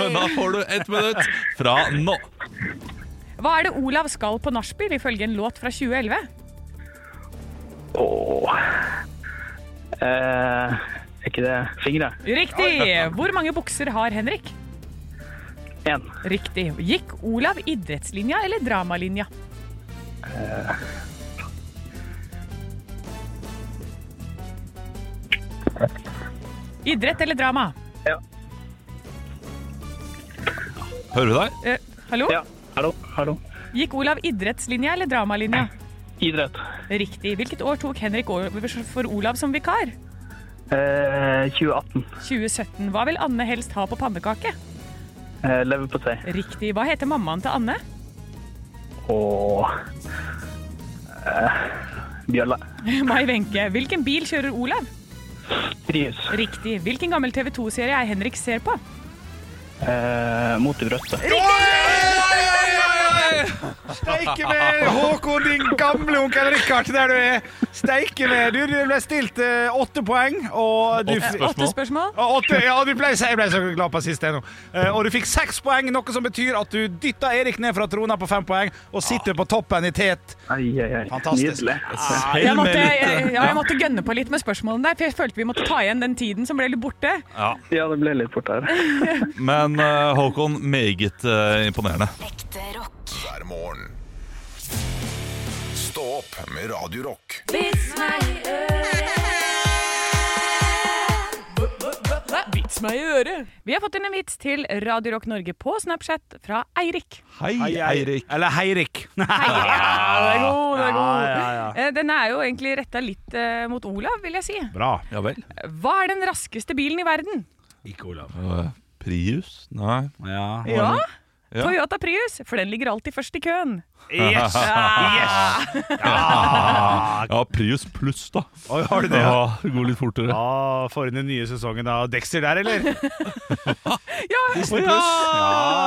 Da får du ett minutt fra nå.
Hva er det Olav skal på nachspiel, ifølge en låt fra 2011?
Åh. Eh, er ikke det fingre?
Riktig! Hvor mange bukser har Henrik?
Én.
Riktig. Gikk Olav idrettslinja eller dramalinja? Idrett eller drama?
Hører du deg?
Eh, hallo?
Ja. Hallo? Hallo?
Gikk Olav idrettslinja eller dramalinja?
Idrett.
Riktig. Hvilket år tok Henrik over for Olav som vikar?
Eh, 2018.
2017. Hva vil Anne helst ha på pannekake?
Eh, Leverpostei.
Riktig. Hva heter mammaen til Anne?
Og eh, bjølle.
Mai Wenche. Hvilken bil kjører Olav?
Rius.
Riktig. Hvilken gammel TV 2-serie er Henrik ser på?
Eh, mot i brøstet.
Steike med Håkon, din gamle onkel Rikard, der du er. Steike med. Du, du ble stilt eh, åtte poeng, og du
Åtte
Åtte spørsmål.
Ja, åtte, ja, du ble, jeg ble så glad på sist ennå. Eh, og du fikk seks poeng, noe som betyr at du dytta Erik ned fra trona på fem poeng, og sitter på toppen i tet.
Ai, ai, ai.
Fantastisk.
Nydelig.
Jeg
Selv med
måtte, jeg,
litt-
ja, jeg måtte gønne på litt med spørsmålene der, for jeg følte vi måtte ta igjen den tiden som ble litt borte.
Ja.
Ja, det ble litt fortere.
Men eh, Håkon, meget eh, imponerende.
Ekte rock.
hver morgen. Stå opp med Radio Rock.
Vits meg i øret.
Vits meg i øret. Vi har fått inn en vits til Radio Rock Norge på Snapchat fra Eirik.
Hei, Eirik.
Eller Heirik.
Ja, det er god, det er god.
Ja, ja, ja.
Eh, Denne er jo egentlig retta litt eh, mot Olav, vil jeg si.
Bra.
Ja vel.
Hva er den raskeste bilen i verden?
Ikke Olav.
Eh, Prius? Nei.
Ja.
Ja,
Ja.
Toyota Prius, for den ligger alltid først i køen.
Yes. yes.
Ja, Prius pluss, da.
Oi, har du det? Ja.
Ja, det går litt fortere.
Ah, for den nye sesongen av Dexter der, eller?
Ja,
ja, ja,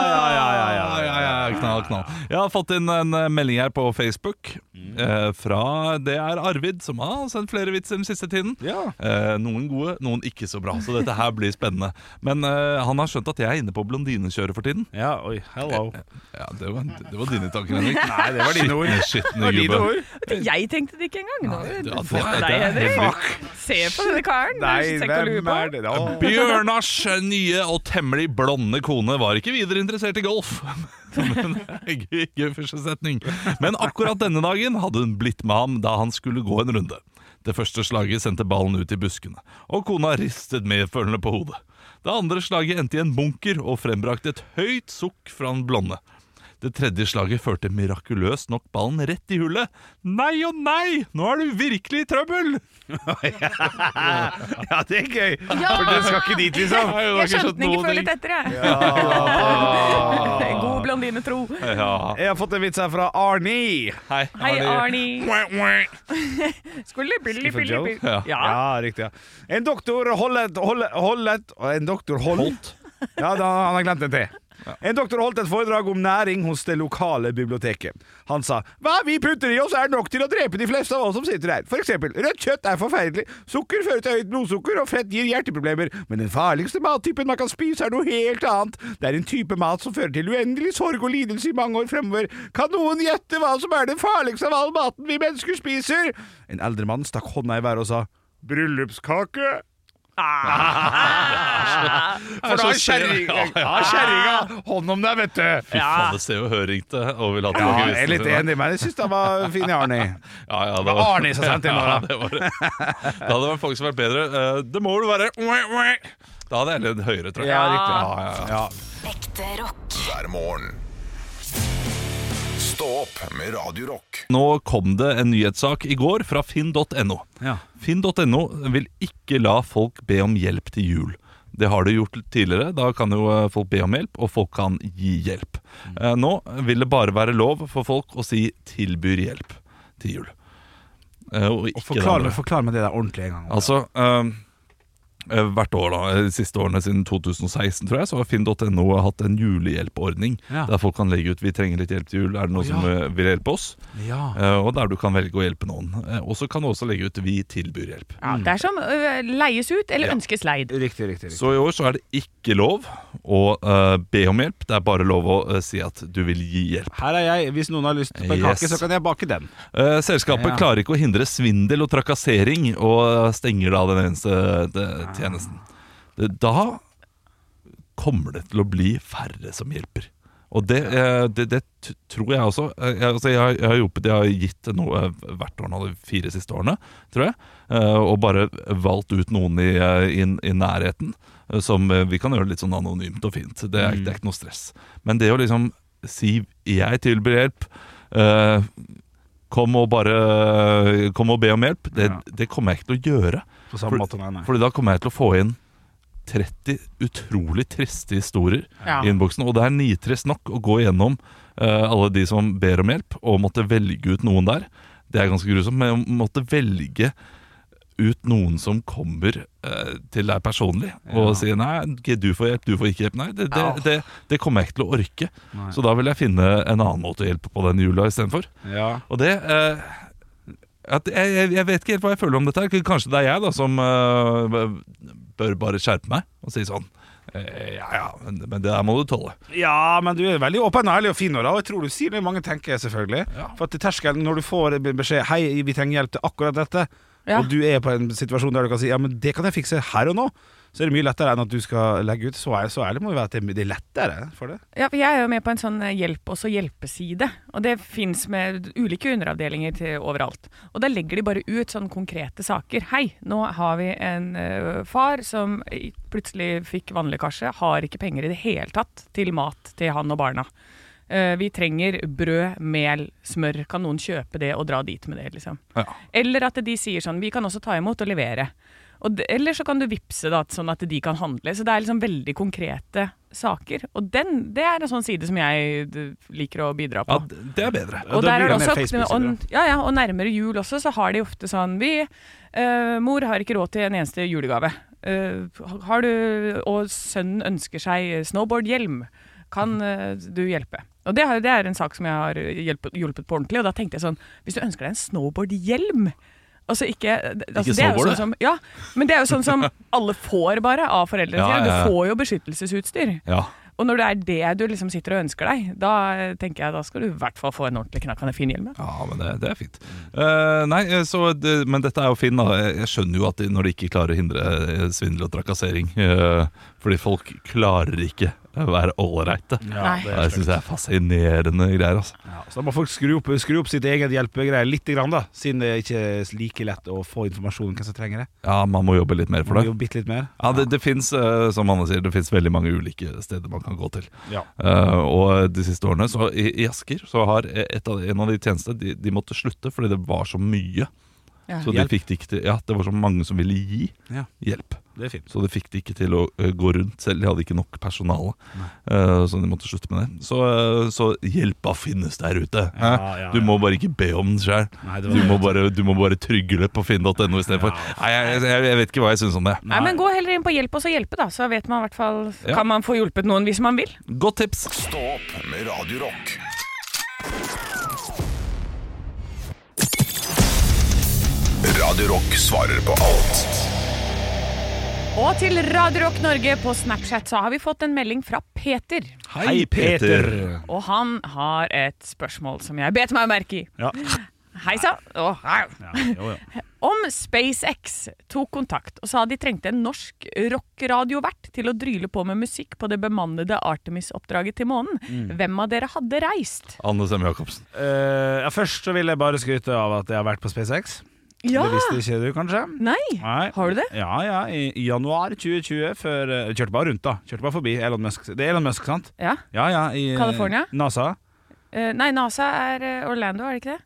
ja, ja.
ja, ja, knall, knall. Jeg har fått inn en eh, melding her på Facebook eh, fra Det er Arvid, som har sendt flere vitser den siste tiden.
Ja.
Eh, noen gode, noen ikke så bra. Så dette her blir spennende. Men eh, han har skjønt at jeg er inne på blondinekjøret for tiden.
ja, oi, hello.
Ja, Det var, det var dine tanker, Henrik.
Nei, det var dine ord.
Skitne
Dine
gubbe.
ord.
Jeg tenkte det ikke engang. Nå,
det er-
fuck
det er-
deg,
det er
Henrik. Se på denne karen.
Nei,
det er ikke å lure
hvem
på.
er det? Å,
Bjørnars nye og temmelig blonde kone var ikke videre interessert i golf. Men, gøy, gøy første setning. Men akkurat denne dagen hadde hun blitt med ham da han skulle gå en runde. Det første slaget sendte ballen ut i buskene, og kona ristet medfølende på hodet. Det andre slaget endte i en bunker og frembrakte et høyt sukk fra den blonde. Det tredje slaget førte mirakuløst nok ballen rett i hullet. Nei og nei, nå er du virkelig i trøbbel!
Ja, det er gøy.
Ja!
For den skal ikke dit, liksom.
Jeg skjønte den ikke før litt etter, jeg. God blondinetro.
Ah. Ja.
Jeg har fått en vits her fra Arnie.
Hei,
Hei, Arnie. Skulle
Skuffer
billig, billig,
Joe?
billig.
Ja.
Ja.
Ja, riktig. ja En doktor holdet, holdet, holdet og En doktor holdt Ja, da, han har glemt en til. En doktor holdt et foredrag om næring hos det lokale biblioteket. Han sa hva vi putter i oss er nok til å drepe de fleste av oss som sitter her. For eksempel, rødt kjøtt er forferdelig, sukker fører til høyt blodsukker, og fett gir hjerteproblemer. Men den farligste mattypen man kan spise, er noe helt annet. Det er en type mat som fører til uendelig sorg og lidelse i mange år fremover. Kan noen gjette hva som er den farligste av all maten vi mennesker spiser? En eldre mann stakk hånda i været og sa Bryllupskake.
Ah.
For da har kjerringa ja, kjerringa hånd om deg, vet du.
Fy faen, det ser jo høringte og vil at
Ja, jeg
dere
er
visste
litt
det.
enig, men jeg syns den var fin i Arnie.
Ja, ja,
Det var Arne som sendte inn nå, da.
Ja, det, var det. det hadde vært folk som vært bedre. Eh, Det må vel være Da hadde jeg ledd høyere, tror jeg.
Ja, riktig.
Ja, ja, ja.
Ekte rock.
hver morgen. Stå opp med Radio Rock.
Nå kom det en nyhetssak i går fra finn.no.
Ja.
Finn.no vil ikke la folk be om hjelp til jul. Det har de gjort tidligere. Da kan jo eh, folk be om hjelp, og folk kan gi hjelp. Eh, Nå vil det bare være lov for folk å si 'tilbyr hjelp' til jul. Eh, Og ikke det
Forklar,
andre.
meg- forklar meg det der ordentlig en gang.
Altså, eh, eh, hvert år da, eh, de siste årene siden 2016 tror jeg, så har Finn.no hatt en julehjelpeordning,
Ja.
der folk kan legge ut, vi trenger litt hjelp til jul, er det noen
Å,
som
ja.
eh, vil hjelpe oss?
Ja.
Eh, og der du kan velge å hjelpe noen. Eh, og så kan du også legge ut, vi tilbyr hjelp.
Ja, det er som ø, leies ut eller
Ja.
ønskes leid.
Riktig, riktig. riktig.
Så i år så er det ikke lov å eh, be om hjelp, det er bare lov å eh, si at du vil gi hjelp.
Her er jeg. Hvis noen har lyst på en
Yes.
kake, så kan jeg bake den.
Eh, selskapet
Ja.
klarer ikke å hindre svindel og trakassering, og eh, stenger da den eneste de- tjenesten. Det- Da kommer det til å bli færre som hjelper. Og det, eh, det, det t- tror jeg også. Eh, Jeg, altså jeg, har- jeg har hjulpet, jeg har gitt noe eh, hvert år nå de fire siste årene, tror jeg. eh, Og bare valgt ut noen i, eh, i, i nærheten eh, som eh, vi kan gjøre litt sånn anonymt og fint. Det er, det er ikke noe stress. Men det å liksom si 'jeg tilbyr hjelp', eh, Kom og bare eh, Kom og be om hjelp. Det,
Ja.
det kommer jeg ikke til å gjøre.
På samme måte, nei, nei.
Fordi da kommer jeg til å få inn 30 utrolig triste historier
Ja.
i innboksen. Og det er nitrist nok å gå gjennom eh, alle de som ber om hjelp, og måtte velge ut noen der. Det er ganske grusomt, men å måtte velge ut noen som kommer eh, til deg personlig og sier 'nei, ok, du får hjelp, du får ikke hjelp'. Nei, det, det, det, det kommer jeg ikke til å orke. Så da vil jeg finne en annen måte å hjelpe på den jula istedenfor.
Ja.
Og det eh, at jeg, jeg- jeg vet ikke helt hva jeg føler om dette. her K- Kanskje det er jeg da som eh, bør bare skjerpe meg og si sånn eh, Ja ja, men, men det der må du tåle.
Ja, men du er veldig åpen og ærlig og fin nå, da. Og jeg tror du sier det mange tenker, selvfølgelig. For at terskelen, når du får beskjed 'Hei, vi trenger hjelp til akkurat dette',
Ja.
og du er på en situasjon der du kan si 'Ja, men det kan jeg fikse her og nå', så er det mye lettere enn at du skal legge ut. Så, er, så ærlig må vi være at det, det er lettere for det.
Ja, for jeg er jo med på en sånn eh, hjelp oss og hjelpeside, og det fins med ulike underavdelinger til overalt. Og da legger de bare ut sånne konkrete saker. Hei, nå har vi en eh, far som i- plutselig fikk vannlekkasje, har ikke penger i det hele tatt til mat til han og barna. Eh, vi trenger brød, mel, smør. Kan noen kjøpe det og dra dit med det, liksom? Eller at de sier sånn, vi kan også ta imot og levere. Og det, eller så kan du vippse da, sånn at de kan handle. Så det er liksom veldig konkrete saker. Og den, det er en sånn side som jeg d- liker å bidra
Ja,
på.
d- Det er bedre.
Og
da
der
blir det mer
er det også, og,
Facebook-sider.
ja, ja, og nærmere jul også, så har de ofte sånn vi, eh, Mor har ikke råd til en eneste julegave. Eh, har du, og sønnen ønsker seg snowboardhjelm. Kan eh, du hjelpe? Og det, har, det er en sak som jeg har hjulpet, hjulpet på ordentlig. Og da tenkte jeg sånn Hvis du ønsker deg en snowboardhjelm Altså ikke altså det er jo
snowboard,
sånn som, ja, Men det er jo sånn som alle får bare av foreldrene
Ja,
sine.
ja, ja.
Du får jo beskyttelsesutstyr.
Ja.
Og når det er det du liksom sitter og ønsker deg, da eh, tenker jeg da skal du i hvert fall få en ordentlig knakkende fin hjelm. ja.
ja, men det, det er fint. Eh, nei, eh, så det, Men dette er jo Finn, da. Jeg jeg skjønner jo at de, når de ikke klarer å hindre eh, svindel og trakassering eh, Fordi folk klarer ikke å være ålreite.
Nei.
Det syns jeg er fascinerende greier. altså
Ja, så da må folk skru opp, skru opp sitt eget hjelpegreie litt, grann, da, siden det er ikke er like lett å få informasjon om hvem som trenger det.
Ja, man må jobbe litt mer
Må
for det.
vi jo bitte litt mer.
Ja, det, det finnes, eh, som Anne sier, det finnes veldig mange ulike steder man kan gå til.
Ja.
Eh, og de siste årene, så i, i Asker, så har et av, en av de tjenestene de, de måtte slutte fordi det var så mye.
Ja.
Så de
Hjelp.
fikk det ikke til Ja, det var så mange som ville gi
Ja.
hjelp.
Det er fint.
Så de fikk det ikke til å eh, gå rundt selv. De hadde ikke nok personale. eh, så de måtte slutte med det. Så, eh, så hjelpa finnes der ute. hæ?
Ja, ja,
Du må bare ikke be om den sjøl.
Nei, det var
Du, må bare- du må bare trygle på finn.no istedenfor. Nei, jeg, jeg, jeg vet ikke hva jeg syns om det.
Nei, men gå heller inn på Hjelp oss å hjelpe, da. Så vet man i hvert fall
Ja.
Kan man få hjulpet noen hvis man vil?
Godt tips!
Stå opp med Radio Rock. Radio Rock svarer på alt.
Og til Radio Rock Norge på Snapchat så har vi fått en melding fra Peter.
Hei, Peter.
Og han har et spørsmål som jeg bet meg merke i.
Ja.
Hei sann! Åh, au.
Jo, jo.
Om SpaceX tok kontakt og sa de trengte en norsk rock-radiovert til å dryle på med musikk på det bemannede Artemis-oppdraget til månen,
Mm.
hvem av dere hadde reist?
Anne Semme Jacobsen.
Eh, ja, først så vil jeg bare skryte av at jeg har vært på SpaceX. Det visste ikke du, kanskje?
Nei!
Nei.
Har du det?
Ja, ja, i i januar 2020 før, eh, Kjørte bare rundt da Kjørte bare forbi Elon Musk Det er Elon Musk, sant?
Ja.
Ja, ja i, eh,
California?
NASA
Eh, nei, NASA er eh, Orlando, er det ikke det?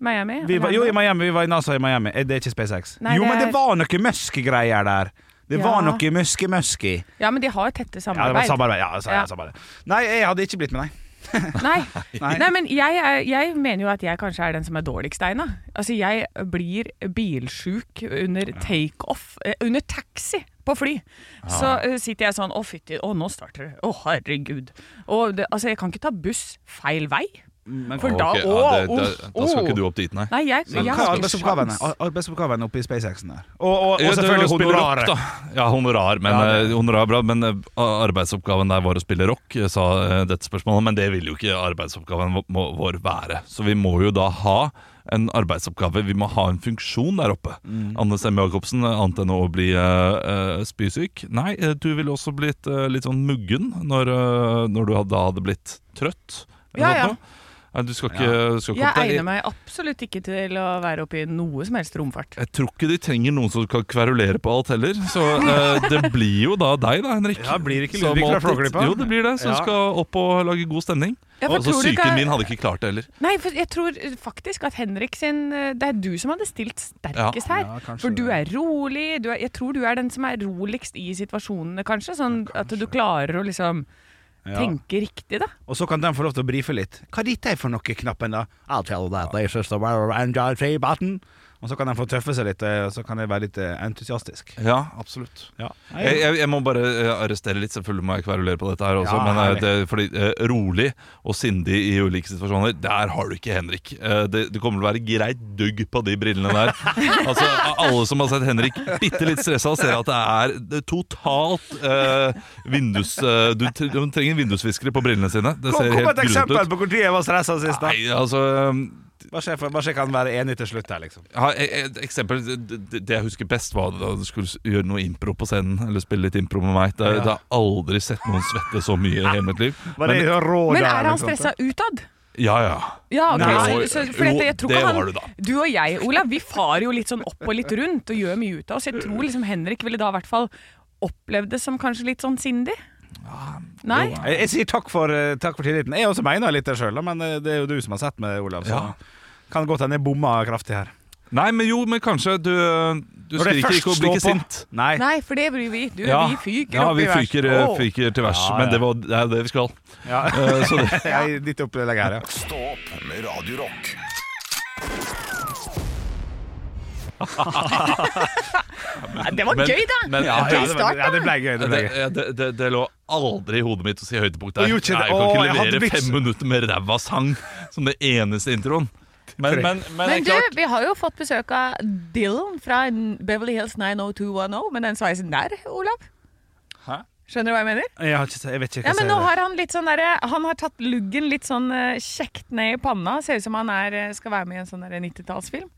Miami?
Vi var, jo, i
Orlando.
Miami, vi var i NASA i Miami. Eh, Det er ikke SpaceX.
Nei,
jo,
det
men det
er-
var noe møskegreier der. Det var
Ja.
noe møske-møske.
Ja, men de har jo tette
Ja, det var
samarbeid.
samarbeid. Ja, sa-
Ja.
samarbeid. Nei, jeg hadde ikke blitt med, nei.
Nei.
Nei.
Nei, men jeg, er, jeg mener jo at jeg kanskje er den som er dårligst egna. Altså, jeg blir bilsjuk under takeoff, eh, under taxi på fly.
Ah.
Så eh, sitter jeg sånn, å fytti, å nå starter det, å herregud. Og det, altså, jeg kan ikke ta buss feil vei. For da,
Ok, ja,
å,
det- da, da skal ikke du opp dit, nei.
Nei, jeg, jeg
Hva er
har ikke
arbeidsoppgavene?
sjans.
Ar- Arbeidsoppgavene oppe i SpaceX-en der. Og, og, og
Ja, det
selvfølgelig
å spille rock,
honoraret.
da. Ja, honorar, men,
Ja, det-
eh, honorar er bra, men eh, arbeidsoppgaven der var å spille rock, eh, sa eh, dette spørsmålet. Men det vil jo ikke arbeidsoppgaven vå- må- vår være. Så vi må jo da ha en arbeidsoppgave. Vi må ha en funksjon der oppe.
Mm.
Anne Semme Jacobsen, eh, annet enn å bli eh, eh, spysyk. Nei, eh, du ville også blitt eh, litt sånn muggen når, eh, når du hadde- da hadde blitt trøtt. eller
Ja,
noe
ja.
sånt nå. Nei, Du skal ikke, du skal ikke
Jeg
opp der.
egner meg absolutt ikke til å være oppe i noe som helst romfart.
Jeg tror ikke de trenger noen som kan kverulere på alt heller. Så eh, det blir jo da deg, da, Henrik.
Ja, blir det ikke
Som
Ludvig fra
alltid-
Flåklypa?
Jo, det blir det. Som
Ja.
skal opp og lage god stemning.
Ja, for
Altså,
tror du ikke-
Psyken min hadde ikke klart det heller.
Nei, for jeg tror faktisk at Henrik sin eh, Det er du som hadde stilt sterkest her.
Ja, kanskje
for du
det.
er rolig. Du er, jeg tror du er den som er roligst i situasjonene, kanskje. Sånn at du klarer å liksom tenke riktig, da.
Og så kan de få lov til å brife litt. Hva dette er for noe knappen, da? I'll tell you that they just about enjoy the button. Og så kan de få tøffe seg litt, eh, og så kan jeg være litt eh, entusiastisk.
Ja, absolutt.
Ja.
Jeg, jeg, jeg må bare eh, arrestere litt. Selvfølgelig må jeg kverulere på dette her også.
Ja,
men eh,
herlig.
det, fordi eh, rolig og sindig i ulike situasjoner, der har du ikke Henrik. Eh, det, det kommer til å være greit dugg på de brillene der. altså, Alle som har sett Henrik bitte litt stressa, ser at det er det er totalt eh, vindus... eh, du, tre- du trenger vindusviskere på brillene sine. Det
Kom,
ser
kom med
helt
et eksempel
grusomt ut.
på når jeg var stressa sist, da.
Nei, altså eh,
Bare se, bare se kan være enig til slutt her, liksom.
ja, e, et eksempel det, det- det jeg husker best var da du skulle s- gjøre noe impro på scenen. Eller spille litt impro med meg. Det, det har jeg aldri sett noen svette så mye i hele mitt liv.
Bare
Men,
rå
Men
der,
er han
liksom.
stressa utad?
ja, ja.
Ja, ok,
Nei.
så, så, for dette, jeg
Jo,
tror ikke
det
han,
var du da.
Du og jeg, Olav, vi farer jo litt sånn opp og litt rundt og gjør mye ut av oss. Jeg tror liksom Henrik ville da i hvert fall opplevd det som kanskje litt sånn sindig.
Ah,
Nei?
Jeg, jeg sier takk for, eh, takk for tilliten. Jeg også mener litt det sjøl, men eh, det er jo du som har sett meg, Olav. Så
Ja.
kan godt hende jeg bomma kraftig her.
Nei, men jo, men kanskje du, eh,
Når
du
det
skriker
først
ikke og blir ikke
står på-
sint.
Nei.
Nei, for det blir vi. Du,
Ja.
vi fyker
ja,
opp
vi
i vers.
fyker, eh,
Åh.
fyker til vers.
Ja,
Men
ja.
det, var, det er det vi skal.
Ja.
Eh, så det,
Jeg, ditt opplegg her, ja.
Stå opp med Radio Rock.
Nei, Det var
Men-
gøy, da!
men-
ja,
Ja,
Ja,
gøy
det, var-
start,
ja,
da.
det ble gøy. Det
det,
ble gøy.
det, det, det lå aldri i hodet mitt å si
Å,
høydepunkt der. Nei,
gjorde
jeg
ikke det?
kan
Å, jeg
ikke
hadde
levere
blitt-
fem minutter med ræva sang som det eneste introen. Men, men, men, det er
Men du,
klart-
vi har jo fått besøk av Dylan fra n- Beverly Hills 90210 med den sveisen der, Olav.
Hæ?
Skjønner du hva jeg mener?
Jeg, har ikke, jeg vet ikke hva
Ja, men
jeg
nå
sier.
har Han litt sånn derre- Han har tatt luggen litt sånn eh, kjekt ned i panna. Ser ut som han er, eh, skal være med i en sånn derre 90-tallsfilm.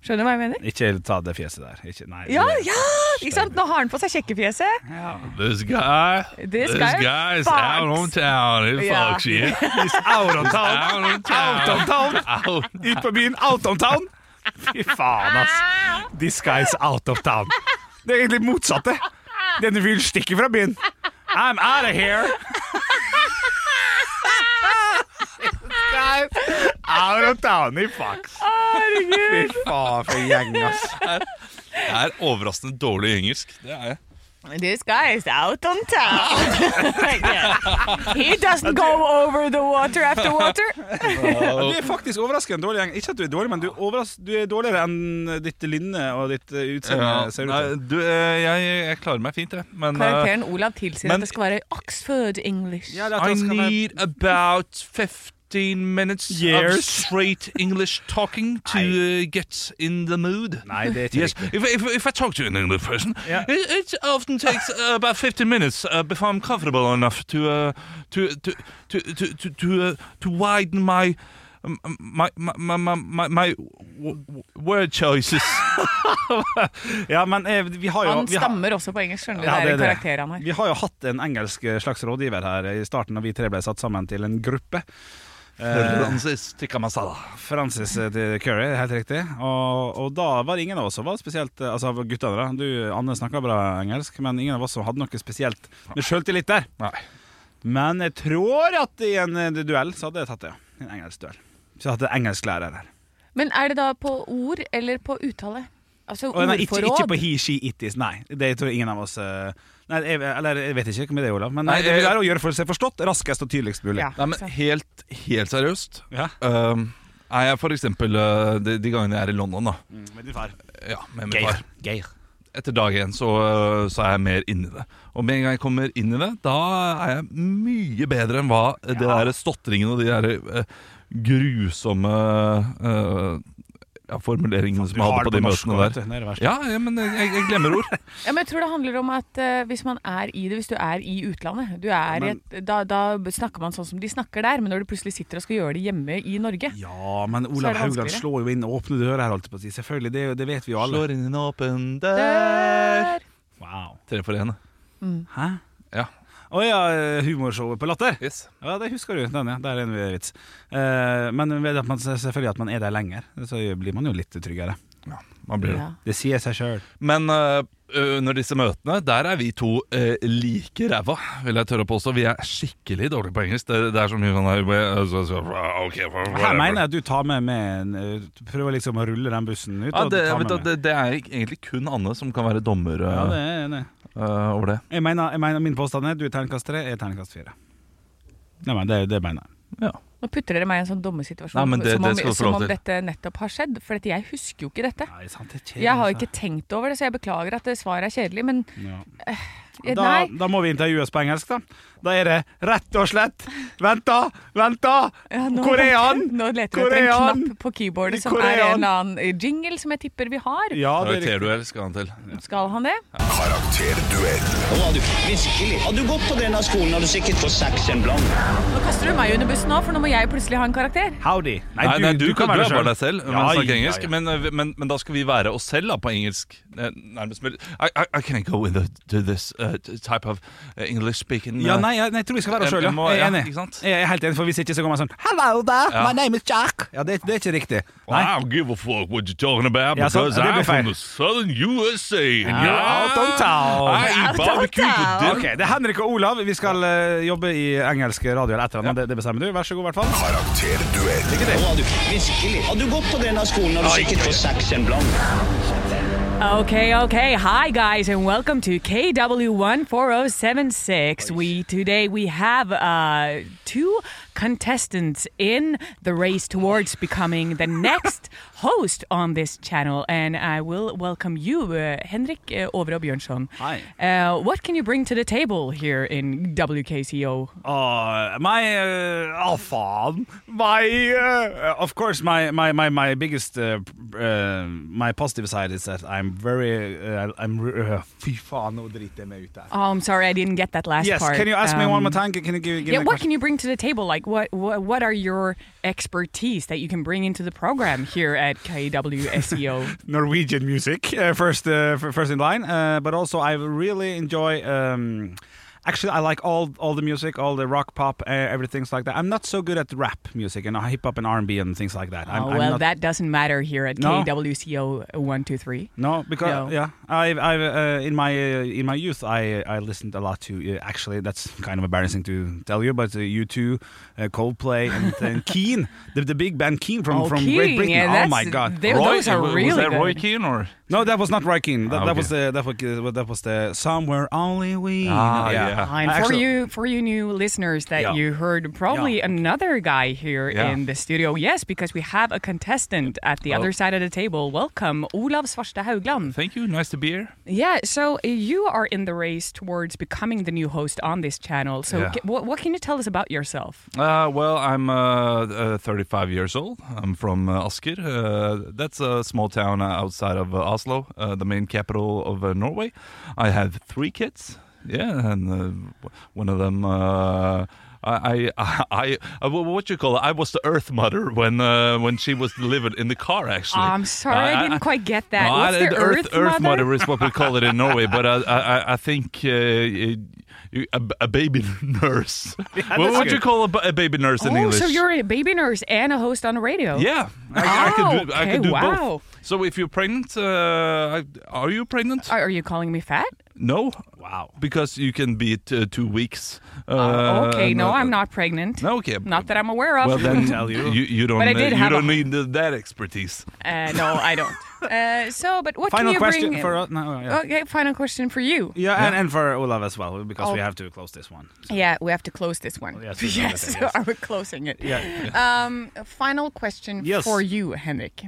Skjønner du hva jeg mener?
Ikke ta det fjeset der. Ikke, nei,
Ja, ja! Ikke sant? Nå har han på seg kjekkefjeset.
This guy,
This guy
is
fucks.
out on town. He
Ja.
fucks you.
He's out of town!
Out on
Out
town.
of town!
Out.
Ut på byen, out of town! Fy faen, ass. This guy's out of town. Det er egentlig motsatte. Denne fyren stikker fra byen. I'm out of here! This guy's out of town, he fucks. Fy faen, for en gjeng, ass.
Jeg er overraskende dårlig i engelsk. Det er jeg.
This guy is out on town. He doesn't go over the water after water.
Ja, Du er faktisk overraskende dårlig gjeng. Ikke at du er dårlig, men du er, overras- du er dårligere enn ditt lynne og ditt eh, utseende ser ut
Nei,
til.
du, eh, jeg, jeg klarer meg fint, jeg. Men eh,
Karakteren Olav tilsier at
Men-
det skal være Oxford English.
Ja, det er at
I
han skal være-
need about 15 minutes of
Years.
straight English talking to uh, get in the mood.
Nei, det er ikke
Yes,
riktig.
if, if, if I talk to an English person,
Yeah.
it, it often takes uh, about 15 minutes uh, before I'm comfortable enough to uh, to to to to to to, uh, to widen my um, my my my my, my, my w- w- word choices.
Ja, men eh, vi har jo
Han
vi har-
stammer også på engelsk, skjønner du.
Ja,
det er
det
en
er det.
karakter han har.
Vi har jo hatt en engelsk eh, slags rådgiver her i starten, da vi tre ble satt sammen til en gruppe. Eh,
Francis tikka masala.
Francis eh, til Curry, helt riktig. Og, og da var det ingen av oss som var spesielt eh, Altså guttene, da. Du, Anne, snakka bra engelsk, men ingen av oss som hadde noe spesielt med sjøltillit der.
Nei.
Men jeg tror at i en eh, duell så hadde jeg tatt det, ja. en engelsk duell. Så jeg har hatt en engelsklærer her.
Men er det da på ord eller på uttale? Altså
Og nei, ikke, ikke på
ordforråd?
he, she, it is. Nei, det tror jeg ingen av oss eh, Nei, jeg, eller jeg vet ikke hva det er, Olav. Men
Nei,
det
jeg-
er å gjøre for seg forstått raskest og tydeligst mulig.
Ja,
Nei, men
sant.
helt, helt seriøst
Ja.
Ehm, Er jeg for eksempel eh, de, de gangene jeg er i London da
Mm, Med din far.
Ja, med min
Geir.
far Etter dag én så, eh, så er jeg mer inni det Og med en gang jeg kommer inn i det Da er jeg mye bedre enn hva Det der stottringen og de der eh, grusomme eh, ja, formuleringene som jeg hadde på de møtene der
Det er det verste.
ja, ja, men jeg, jeg glemmer ord
Ja, men jeg tror det handler om at eh, hvis man er i det, hvis du er i utlandet du er i et, da, da snakker man sånn som de snakker der, men når du plutselig sitter og skal gjøre det hjemme i Norge
Ja, men
Så er
Olav
det
Haugland
vanskeligere.
slår jo inn åpne dører her, holdt jeg på å si. Selvfølgelig, det, er jo- det vet vi jo alle.
Slår inn i en åpen
Der.
dør
Wow.
Tre for en
Hæ?
Ja,
Å ja, eh, humorshowet på Latter.
yes
Ja, det husker du. Den, ja. Der er en vits. Eh, men ved at man, selvfølgelig at man er der lenger, så blir man jo litt tryggere.
ja, man blir det
Ja.
Det sier seg sjøl.
Men eh, under disse møtene, der er vi to eh, like ræva, vil jeg tørre å påstå. Vi er skikkelig dårlige på engelsk. Det, det er så mye sånn her eh, så- så- ok,
Her
whatever.
mener jeg at du tar med, med en, eh, du Prøver liksom å rulle den bussen ut.
ja,
og
det,
du tar
vet,
med
du,
meg.
det, det er egentlig kun Anne som kan være dommer eh,
ja, det er jeg enig. i.
eh, over det.
Jeg mener, jeg mener min påstand er du er terningkast tre, jeg er terningkast fire. Nei, men det, det mener jeg.
Nå putter dere meg i en sånn dommesituasjon
Nei, men det-
som om,
det skal du få
som
lov
om
til.
dette nettopp har skjedd. For dette, jeg husker jo ikke dette.
Nei, sant, det er kjedelig,
Jeg har
altså.
ikke tenkt over det, så jeg beklager at det svaret er kjedelig. Men
Ja.
eh,
da,
nei,
da må vi intervjues på engelsk, da. Da er det rett og slett Vent, da! Vent, da!
Ja, nå-
Korean!
Nå leter vi etter en
Korean!
knapp på keyboardet som er
Korean!
en eller annen eh, jingle som jeg tipper vi har.
Ja, det er riktig.
Karakterduell skal han til.
Skal han det?
Karakterduell.
Nå kaster du meg under bussen nå, for nå må jeg plutselig ha en karakter.
Howdy.
Nei, nei, du, kan, du er bare deg selv, men
Ja,
snakke
ja,
engelsk.
ja.
Men, eh, men, men da skal vi være oss selv da, på engelsk. Eh, Nærmest mulig. I, I, I can't go into to this eh, type of eh, English speaking. eh,
Ja, nei, jeg, nei, jeg tror vi skal være oss
Jeg-
sjøl, ja.
jeg må-
Jeg er
ja,
enig.
ikke sant?
Jeg er helt enig, for hvis ikke så går man sånn Hello there,
Ja.
my name is Jack. Ja, det, det er ikke riktig. Nei.
I don't give a fuck what you're talking about
Ja, sant, det
because
blir
I'm
feil.
from the southern USA. and
You're out on town.
I eat
Out on
barbecue for
town.
dinner.
Ok, Det er Henrik og Olav. Vi skal eh, jobbe i engelsk radio eller et eller annet. Det, det bestemmer du. Vær så god, i hvert fall.
Karakterduell.
Okay, okay. Hi, guys, and welcome to KW14076. We today we have uh, two contestants in the race towards becoming the next host on this channel, and I will welcome you, uh, Henrik uh, Overå Bjørnson.
Hi.
Uh, what can you bring to the table here in WKCO?
Uh, my, uh, oh, faen. My, uh, of course, my, my, my, my biggest, uh, uh, my positive side is that I'm very, uh, I'm, re- uh, fy faen, nå driter jeg meg ut der.
Oh, I'm sorry, I didn't get that last
Yes,
part.
can you ask me
Um,
one more time? Can you give, give
Yeah,
me a
what
question?
can you bring to the table? Like, what, what what are your expertise that you can bring into the program here at KWSEO?
Norwegian music uh, first, uh, f- first in line, uh, but also I really enjoy. Um, actually, I like all all the music, all the rock, pop, uh, everything's like that. I'm not so good at rap music and hip hop and R and B and things like that. I'm,
oh,
I'm
well,
not,
that doesn't matter here at
No.
KWCO E one two three.
No, because
No.
yeah, I've, I've uh, in my uh, in my youth, I I listened a lot to. Uh, actually, that's kind of embarrassing to tell you, but uh, you two, uh, Coldplay, and, and Keen, the, the big band Keen from,
Oh,
from
Keane,
Great Britain.
yeah,
oh my
that's-
God!
they're-
Roy-
those are
was
really
that Roy
good.
Keane or
no, that was not Roy Keane. That,
Ah,
that was the that was uh, that was the somewhere only we.
Ah,
know.
yeah.
And for
Actually-
you for you new listeners that
Yeah.
you heard probably
Yeah.
another guy here
Yeah.
in the studio. Yes, because we have a contestant at the
Oh.
other side of the table. Welcome, Olav Svarstad Haugland.
Thank you, nice to be here.
Yeah, so uh, you are in the race towards becoming the new host on this channel. So,
Yeah.
ca- what, what can you tell us about yourself?
Uh, well, I'm uh, uh, 35 years old. I'm from uh, Asker. Uh, that's a small town uh, outside of uh, Oslo, uh, the main capital of uh, Norway. I have three kids. Yeah, and uh, w- one of them. Uh, I, I, I, I, wha- what you call it? I was the Earth Mother when uh, when she was delivered in the car. Actually,
Oh, I'm sorry, I didn't quite get that.
no,
What's
I-
the
Earth,
Earth Mother?
is what we call it in Norway, but I, I, I- I think uh, you- you- a, a baby nurse. what
that's
would you
good.
call a, ba- a baby nurse in
oh,
English?
so you're a baby nurse and a host on the radio.
yeah, I, I could do, I
Oh, okay,
could do
wow.
both. So if you're pregnant, uh, I- are you pregnant?
Are, are you calling me fat?
No,
Wow.
because you can be t- two weeks.
Uh, okay,
uh,
no, I'm not pregnant.
No, okay.
Not that I'm aware of.
Well, then
tell you.
you, you don't,
But I
uh,
did
you
have a-
don't need that expertise.
Uh, no, I don't. Uh, so, but what
Final
can you
question
bring? Oh.
for us. No, yeah.
okay, final question for you.
Yeah, and, and for Olav as well, because we
Oh.
have to close this one.
Yeah, we have to close this one.
yes, we have to, yes.
are we closing it?
Yeah.
Um, final question
Yes.
for you, Henrik.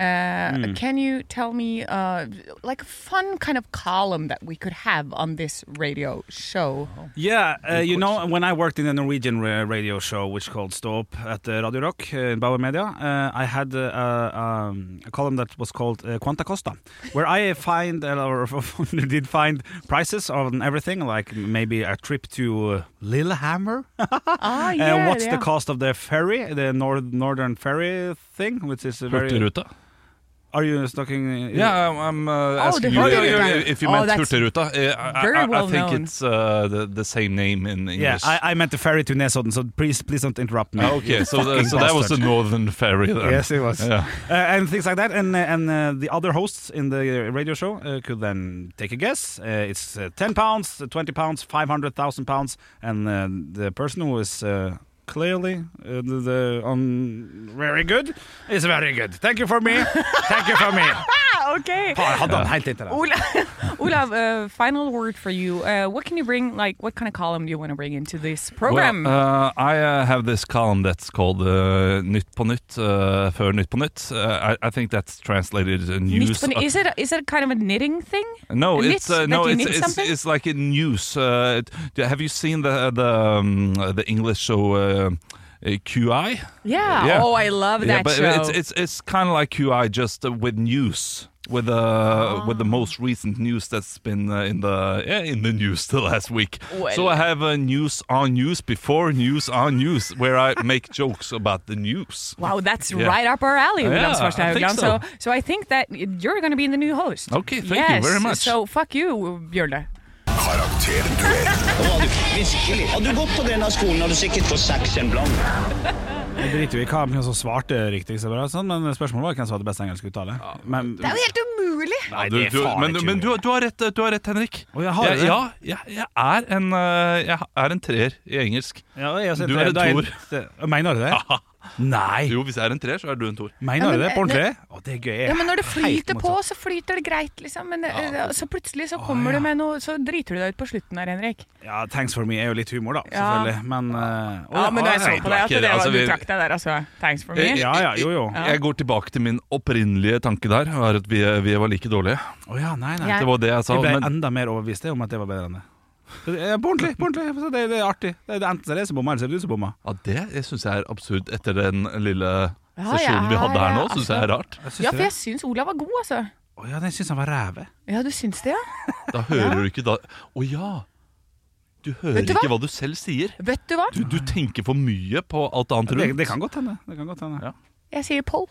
Uh, Can you tell me, uh, like, a fun kind of column that we could have on this radio show?
Yeah, uh, you know, when I worked in a Norwegian ra- radio show which called Stop at uh, Radio Rock uh, in Bauer Media, uh, I had uh, uh, um, a column that was called uh, Quanta Costa, where I find uh, or did find prices on everything, like maybe a trip to uh, Lillehammer.
ah,
Uh, what's the cost of the ferry, the nor- northern ferry thing, which is a very.
Hurtigruta?
Are you talking?
Yeah, I'm, I'm uh,
the
asking you
Hurtigruta.
if you
Oh,
meant
that's
Hurtigruta. Uh, I,
very
I, I
well
think
known.
it's uh, the, the same name in English.
Yeah, I, I meant the ferry to Nesodden, so please, please don't interrupt me.
okay, so, the, so that was the northern ferry then.
Yes, it was.
Yeah.
Uh, and things like that. And uh, and uh, the other hosts in the uh, radio show uh, could then take a guess. Uh, it's uh, ten pounds, twenty pounds, five hundred thousand pounds, and uh, the person who is. Uh, Clearly, uh, the, the um, very good is very good. Thank you for me. Thank you for me.
Ah, okay.
Faen, jeg hadde han helt inntil der.
Olav, Olav uh, final word for you. Uh, what can you bring? Like, what kind of column do you want to bring into this program?
Well, uh, I uh, have this column that's called uh, Nytt på nytt, uh, før Nytt på nytt. Uh, I, I think that's translated uh,
Knit
news.
for- is it is it kind of a knitting thing?
no,
knit,
it's uh,
that
no,
you
it's
knit
it's,
something?
it's like in news. Uh, it- do- have you seen the the um, uh, the English show uh, uh, QI?
Yeah.
Yeah.
Oh, I love that
yeah, but
show.
it's it's it's kind of like QI just uh, with news. With uh,
Ah.
with the most recent news that's been uh, in the yeah, in the news the last week, so
Well.
I have a news on news before news on news where I make jokes about the news.
Wow, that's
Yeah.
right up our alley,
Yeah,
Olav
I
Svarstad
think
Haugland.
so.
So. so I think that you're going to be the new host.
Okay, thank you
yes,
very much.
So fuck you, Bjørle.
Karakterduell.
Jeg driter jo i hva hvem som svarte riktig, så bra, sånn, men spørsmålet var hvem som hadde best engelsk uttale. Men,
Det er jo helt umulig.
nei,
Du,
det er
du,
faen
men
ikke
men du,
mulig.
har- du, har rett, du har rett, Henrik.
Å, jeg har
jeg,
det.
ja, jeg, jeg, er en, eh, jeg er en treer i engelsk.
Ja, jeg har sett
Du er
det.
en
Da
toer.
det- Mener du det? Nei.
Jo, hvis jeg er en treer, så er du en toer.
Mener
Ja,
du
men,
det? På
eh,
ordentlig? Å, det er gøy.
Ja, men når det flyter
motsatt.
på, så flyter det greit, liksom. Men eh, så plutselig så kommer du med noe, så driter du deg ut på slutten her, Henrik.
Ja, Thanks for me er jo litt humor, da.
Ja.
Selvfølgelig. Men eh,
Ja,
å,
men da jeg så
hei.
på deg at det
ikke-
var,
altså, vi-
du trakk deg der, altså. Thanks for me.
Eh,
Ja, ja, jo, jo. Å ja.
Jeg går tilbake til min opprinnelige tanke der, er at vi, vi var like dårlige.
nei, nei.
Ja.
Det var det jeg sa.
Jeg ble
Men,
enda mer overbevist om at det var bedre enn det. Eh, På ordentlig! på ordentlig Så det, det er artig. Det, det er Enten så er det jeg som bommer, eller så er det du som bommer.
ja, det syns jeg er absurd etter den lille sesjonen vi
ja,
hadde her nå.
ja,
Synes jeg er rart.
Jeg syns
Ja,
det.
for jeg syns Olav var god, altså.
Å ja, den syns han var ræve.
Ja, du syns det, ja?
Da hører du ikke da Å ja! Du hører
Vet du hva?
ikke hva du selv sier.
Vet du hva?
Du, du tenker for mye på alt annet
Det,
rundt.
det kan godt hende. Det kan godt hende.
Ja.
Ja.
Jeg sier Pål.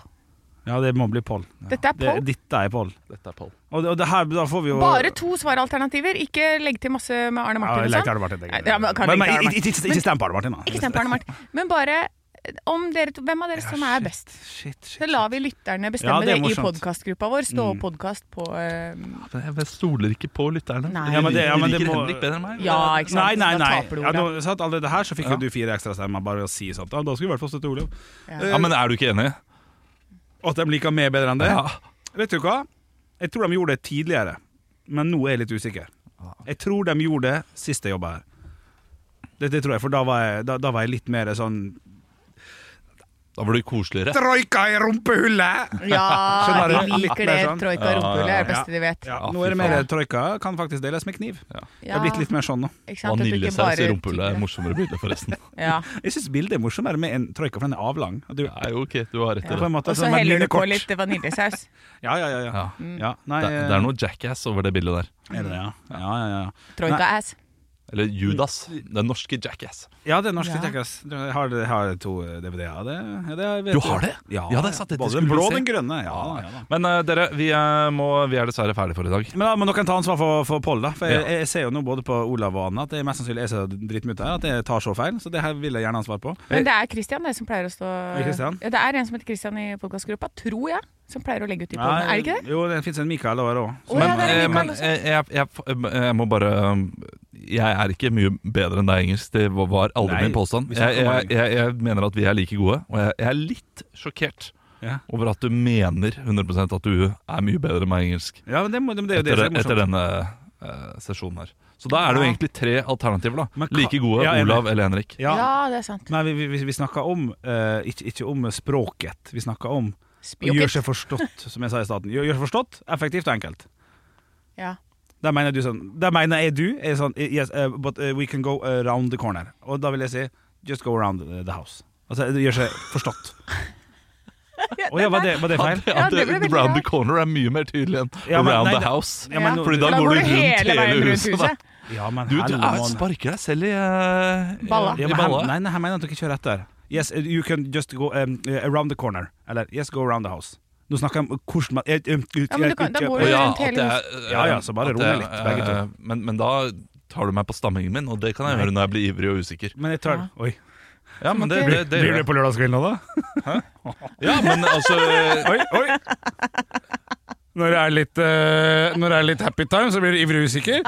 det må bli Pål.
Dette er
Det,
Pål.
dette er Pål.
Dette er Pål.
Og, det- og det her, da får vi jo
Bare to svaralternativer. Ikke legg til masse med
Ja,
Arne Martin og
legg til
sånn.
Arne Martin. det er
Nei,
greit.
ja, men
Men-
kan legge
men
til Arne
ikke- Ikke ikke- ikke stem på Arne Martin, da.
Ikke stem på Arne Martin. Men bare eh, om dere to, hvem av dere som er best.
Shit, shit.
Så lar vi lytterne bestemme
Ja, det
det,
er
i
morsomt. Mm.
podkastgruppa vår. Stå opp podkast på eh,
Jeg stoler ikke på lytterne.
Nei.
De
Ja,
men det- ja, men
liker
det må-
Henrik bedre enn meg.
Ja, ikke sant.
Nei, nei,
Da
nei.
taper du,
Ja,
Olav.
nå, satt alle det her, så fikk
Ja.
jo du fire ekstra stemmer bare å si sånt. Ja, da skulle vi i hvert fall støtte Olav.
Ja.
Ja, men er du ikke enig?
Og at de liker meg bedre enn det.
Ja.
Vet du hva? Jeg tror de gjorde det tidligere, men nå er jeg litt usikker. Jeg tror de gjorde det sist jeg jobba her. Det, det tror jeg, for da var jeg, da, da var jeg litt mer sånn
Da var du koseligere.
Troika i rumpehullet!
Ja,
Skjønner
de
du? Litt
liker det.
mer sånn.
Troika og rumpehullet er det beste de vet.
Ja,
Ja,
nå
fy
er det mer
faen.
troika. Kan faktisk deles med kniv. Det
Ja,
har blitt litt mer sånn nå.
ikke sant, at du ikke
Vaniljesaus i
bare
rumpehullet er
tygger.
morsommere bilde, forresten.
Ja.
Jeg syns bildet er morsommere med en troika, for den er avlang. Og Du,
Nei, ok, du har rett i
på
det.
en måte,
Og så
sånn, men
heller du
mine
på
kort.
litt vaniljesaus.
Ja, ja, ja. ja.
Ja.
ja nei, eh.
Det, det er noe jackass over det bildet der.
er det det, ja? Ja, ja, ja.
Troika-ass.
Eller Judas. Den norske jackass.
Ja, det er norsk
Ja.
Jackass. Jeg har, jeg har to DVD-er av det. Ja, det vet
Du har det?
Ja,
Ja, det er sant, dette
Både
skulle
den
vi
blå
se.
og den grønne. Ja, da, ja, da.
Men eh, dere, vi, eh, må, vi er dessverre ferdige for i dag.
Men da må noen ta ansvar for, for Pål, da. For jeg,
Ja.
jeg ser jo nå både på Olav og Anna at det er mest sannsynlig jeg som er drittmutt her. At jeg tar så feil. Så det her vil jeg gjerne ha svar på.
Men det er Christian det som pleier å stå
det Christian?
ja, Det er en som heter Christian i podkastgruppa, tror jeg. som pleier å legge ut de
Ja,
planene. Er det ikke det?
Jo, det fins en Mikael over òg.
Å, ja,
Men,
det er
eh,
Mikael
men
også.
eh, jeg, jeg, jeg må bare um, Jeg er ikke mye bedre enn deg i engelsk. Det var aldri
Nei,
min påstand.
vi
Jeg,
snakker om
jeg, jeg, jeg mener at vi er like gode, og jeg, jeg er litt sjokkert
Ja.
over at du mener 100 at du er mye bedre enn meg i engelsk
Ja, men det, må, men det er jo det
etter,
som er morsomt.
etter denne eh, sesjonen her. Så da er det jo
Ja.
egentlig tre alternativer. da
Men hva-
Like gode
Ja, jeg er med.
Olav eller Henrik.
Ja.
Ja, det er sant.
Men vi, vi- vi, vi snakker om eh, ikke, ikke om språket. Vi snakker om å gjøre
Spjokket.
seg forstått, som jeg sa i starten. Gjør, gjør seg forstått, effektivt og enkelt.
Ja.
Der mener, du sånn, der mener jeg du er sånn Yes, eh, but eh, we can go around the corner. Og da vil jeg si just go around eh, the house. Altså det gjør seg forstått. Å ja, var det, var det feil?
Ja, det ble
At, eh,
veldig bra.
round the corner er mye mer tydelig enn
Ja, men-
around
nei,
the
da-
house.
Ja, men nå-
Fordi da går du rundt
hele veien
hele
rundt
huset, da.
Ja, men
Du, du
hallo,
er,
mann.
sparker deg selv i, eh,
Balla.
i
Ja,
i
men her,
balla.
nei, nei, her mener jeg at dere kjører etter. Yes, eh, you can just go um, eh, around the corner. Eller yes, go around the house. Nå snakker jeg om hvordan man eh, eh, ut-
Ja, men du kan- da
ut-
går
Å
du-
ja,
rundt
at
hele
jeg, eh,
Ja, ja, så bare
at
ro deg
jeg-
litt, begge to.
eh, Men, men da tar du meg på stammingen min, og det kan jeg gjøre når jeg blir ivrig og usikker.
Men jeg tar Oi.
Ja, men det,
Ok.
det, det, gjør jeg.
på lørdagskvelden nå, da?
Ja, men altså
Oi, oi!
Når det er litt, eh, når det er litt happy time, så blir du ivrig usikker.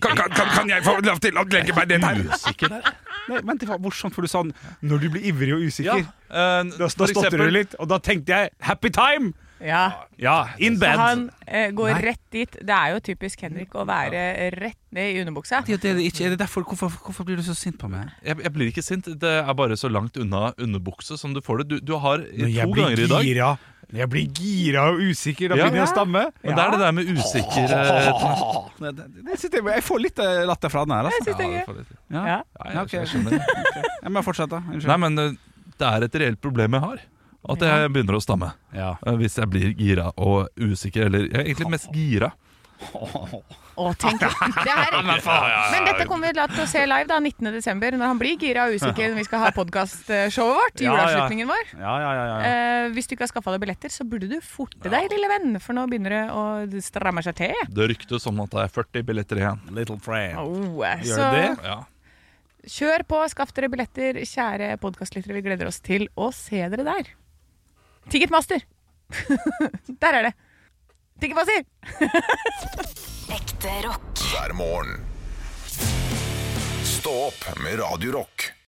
Kan, kan, kan, kan jeg få lov til å legge meg den her?
Usikker der.
Nei, vent, det var morsomt, for du sa når du blir ivrig og
Ja.
usikker.
eh,
Da,
for
da stotter du
eksempel-
litt, og da tenkte jeg happy time!
Ja.
Ja, in bed.
Han eh, går rett dit. Det er jo typisk Henrik å være rett ned i underbuksa.
Det er jo det det ikke er. Det er derfor, hvorfor, hvorfor blir du så sint på meg?
Jeg, jeg blir ikke sint. Det er bare så langt unna underbukse som du får det. Du, du har
Når
to
jeg blir
ganger i dag.
gira, når jeg blir gira og usikker, da
Ja.
begynner jeg å stamme.
Men det er det der med usikker eh,
Nei, det- det- det synes jeg, jeg får litt eh, latter fra den her, altså.
Jeg synes det er
ja,
gøy.
for litt-
Ja.
Ja.
Nei,
Ja,
jeg
ok.
skjønner.
Jeg må fortsette. Unnskyld.
Nei, men eh, det er et reelt problem jeg har. At jeg begynner å stamme
Ja.
eh, hvis jeg blir gira og usikker. Eller jeg er egentlig mest gira.
Å, tenk det her, Men dette kommer vi da til å se live da, 19.12., når han blir gira og usikker når vi skal ha podkastshowet
Ja,
vårt.
ja.
Juleavslutningen vår.
Ja, ja, ja, ja.
Eh, hvis du ikke har skaffa deg billetter, så burde du forte deg, lille venn. For nå begynner det å stramme seg til.
Det ryktes om at det er 40 billetter igjen.
Little friend.
Oh,
Gjør
så
det?
Ja.
kjør på, skaff dere billetter, kjære podkastlyttere. Vi gleder oss til å se dere der. Ticketmaster! der er det. Ticketmaster!
Ekte rock.
hver morgen. Stå opp med Radio Rock.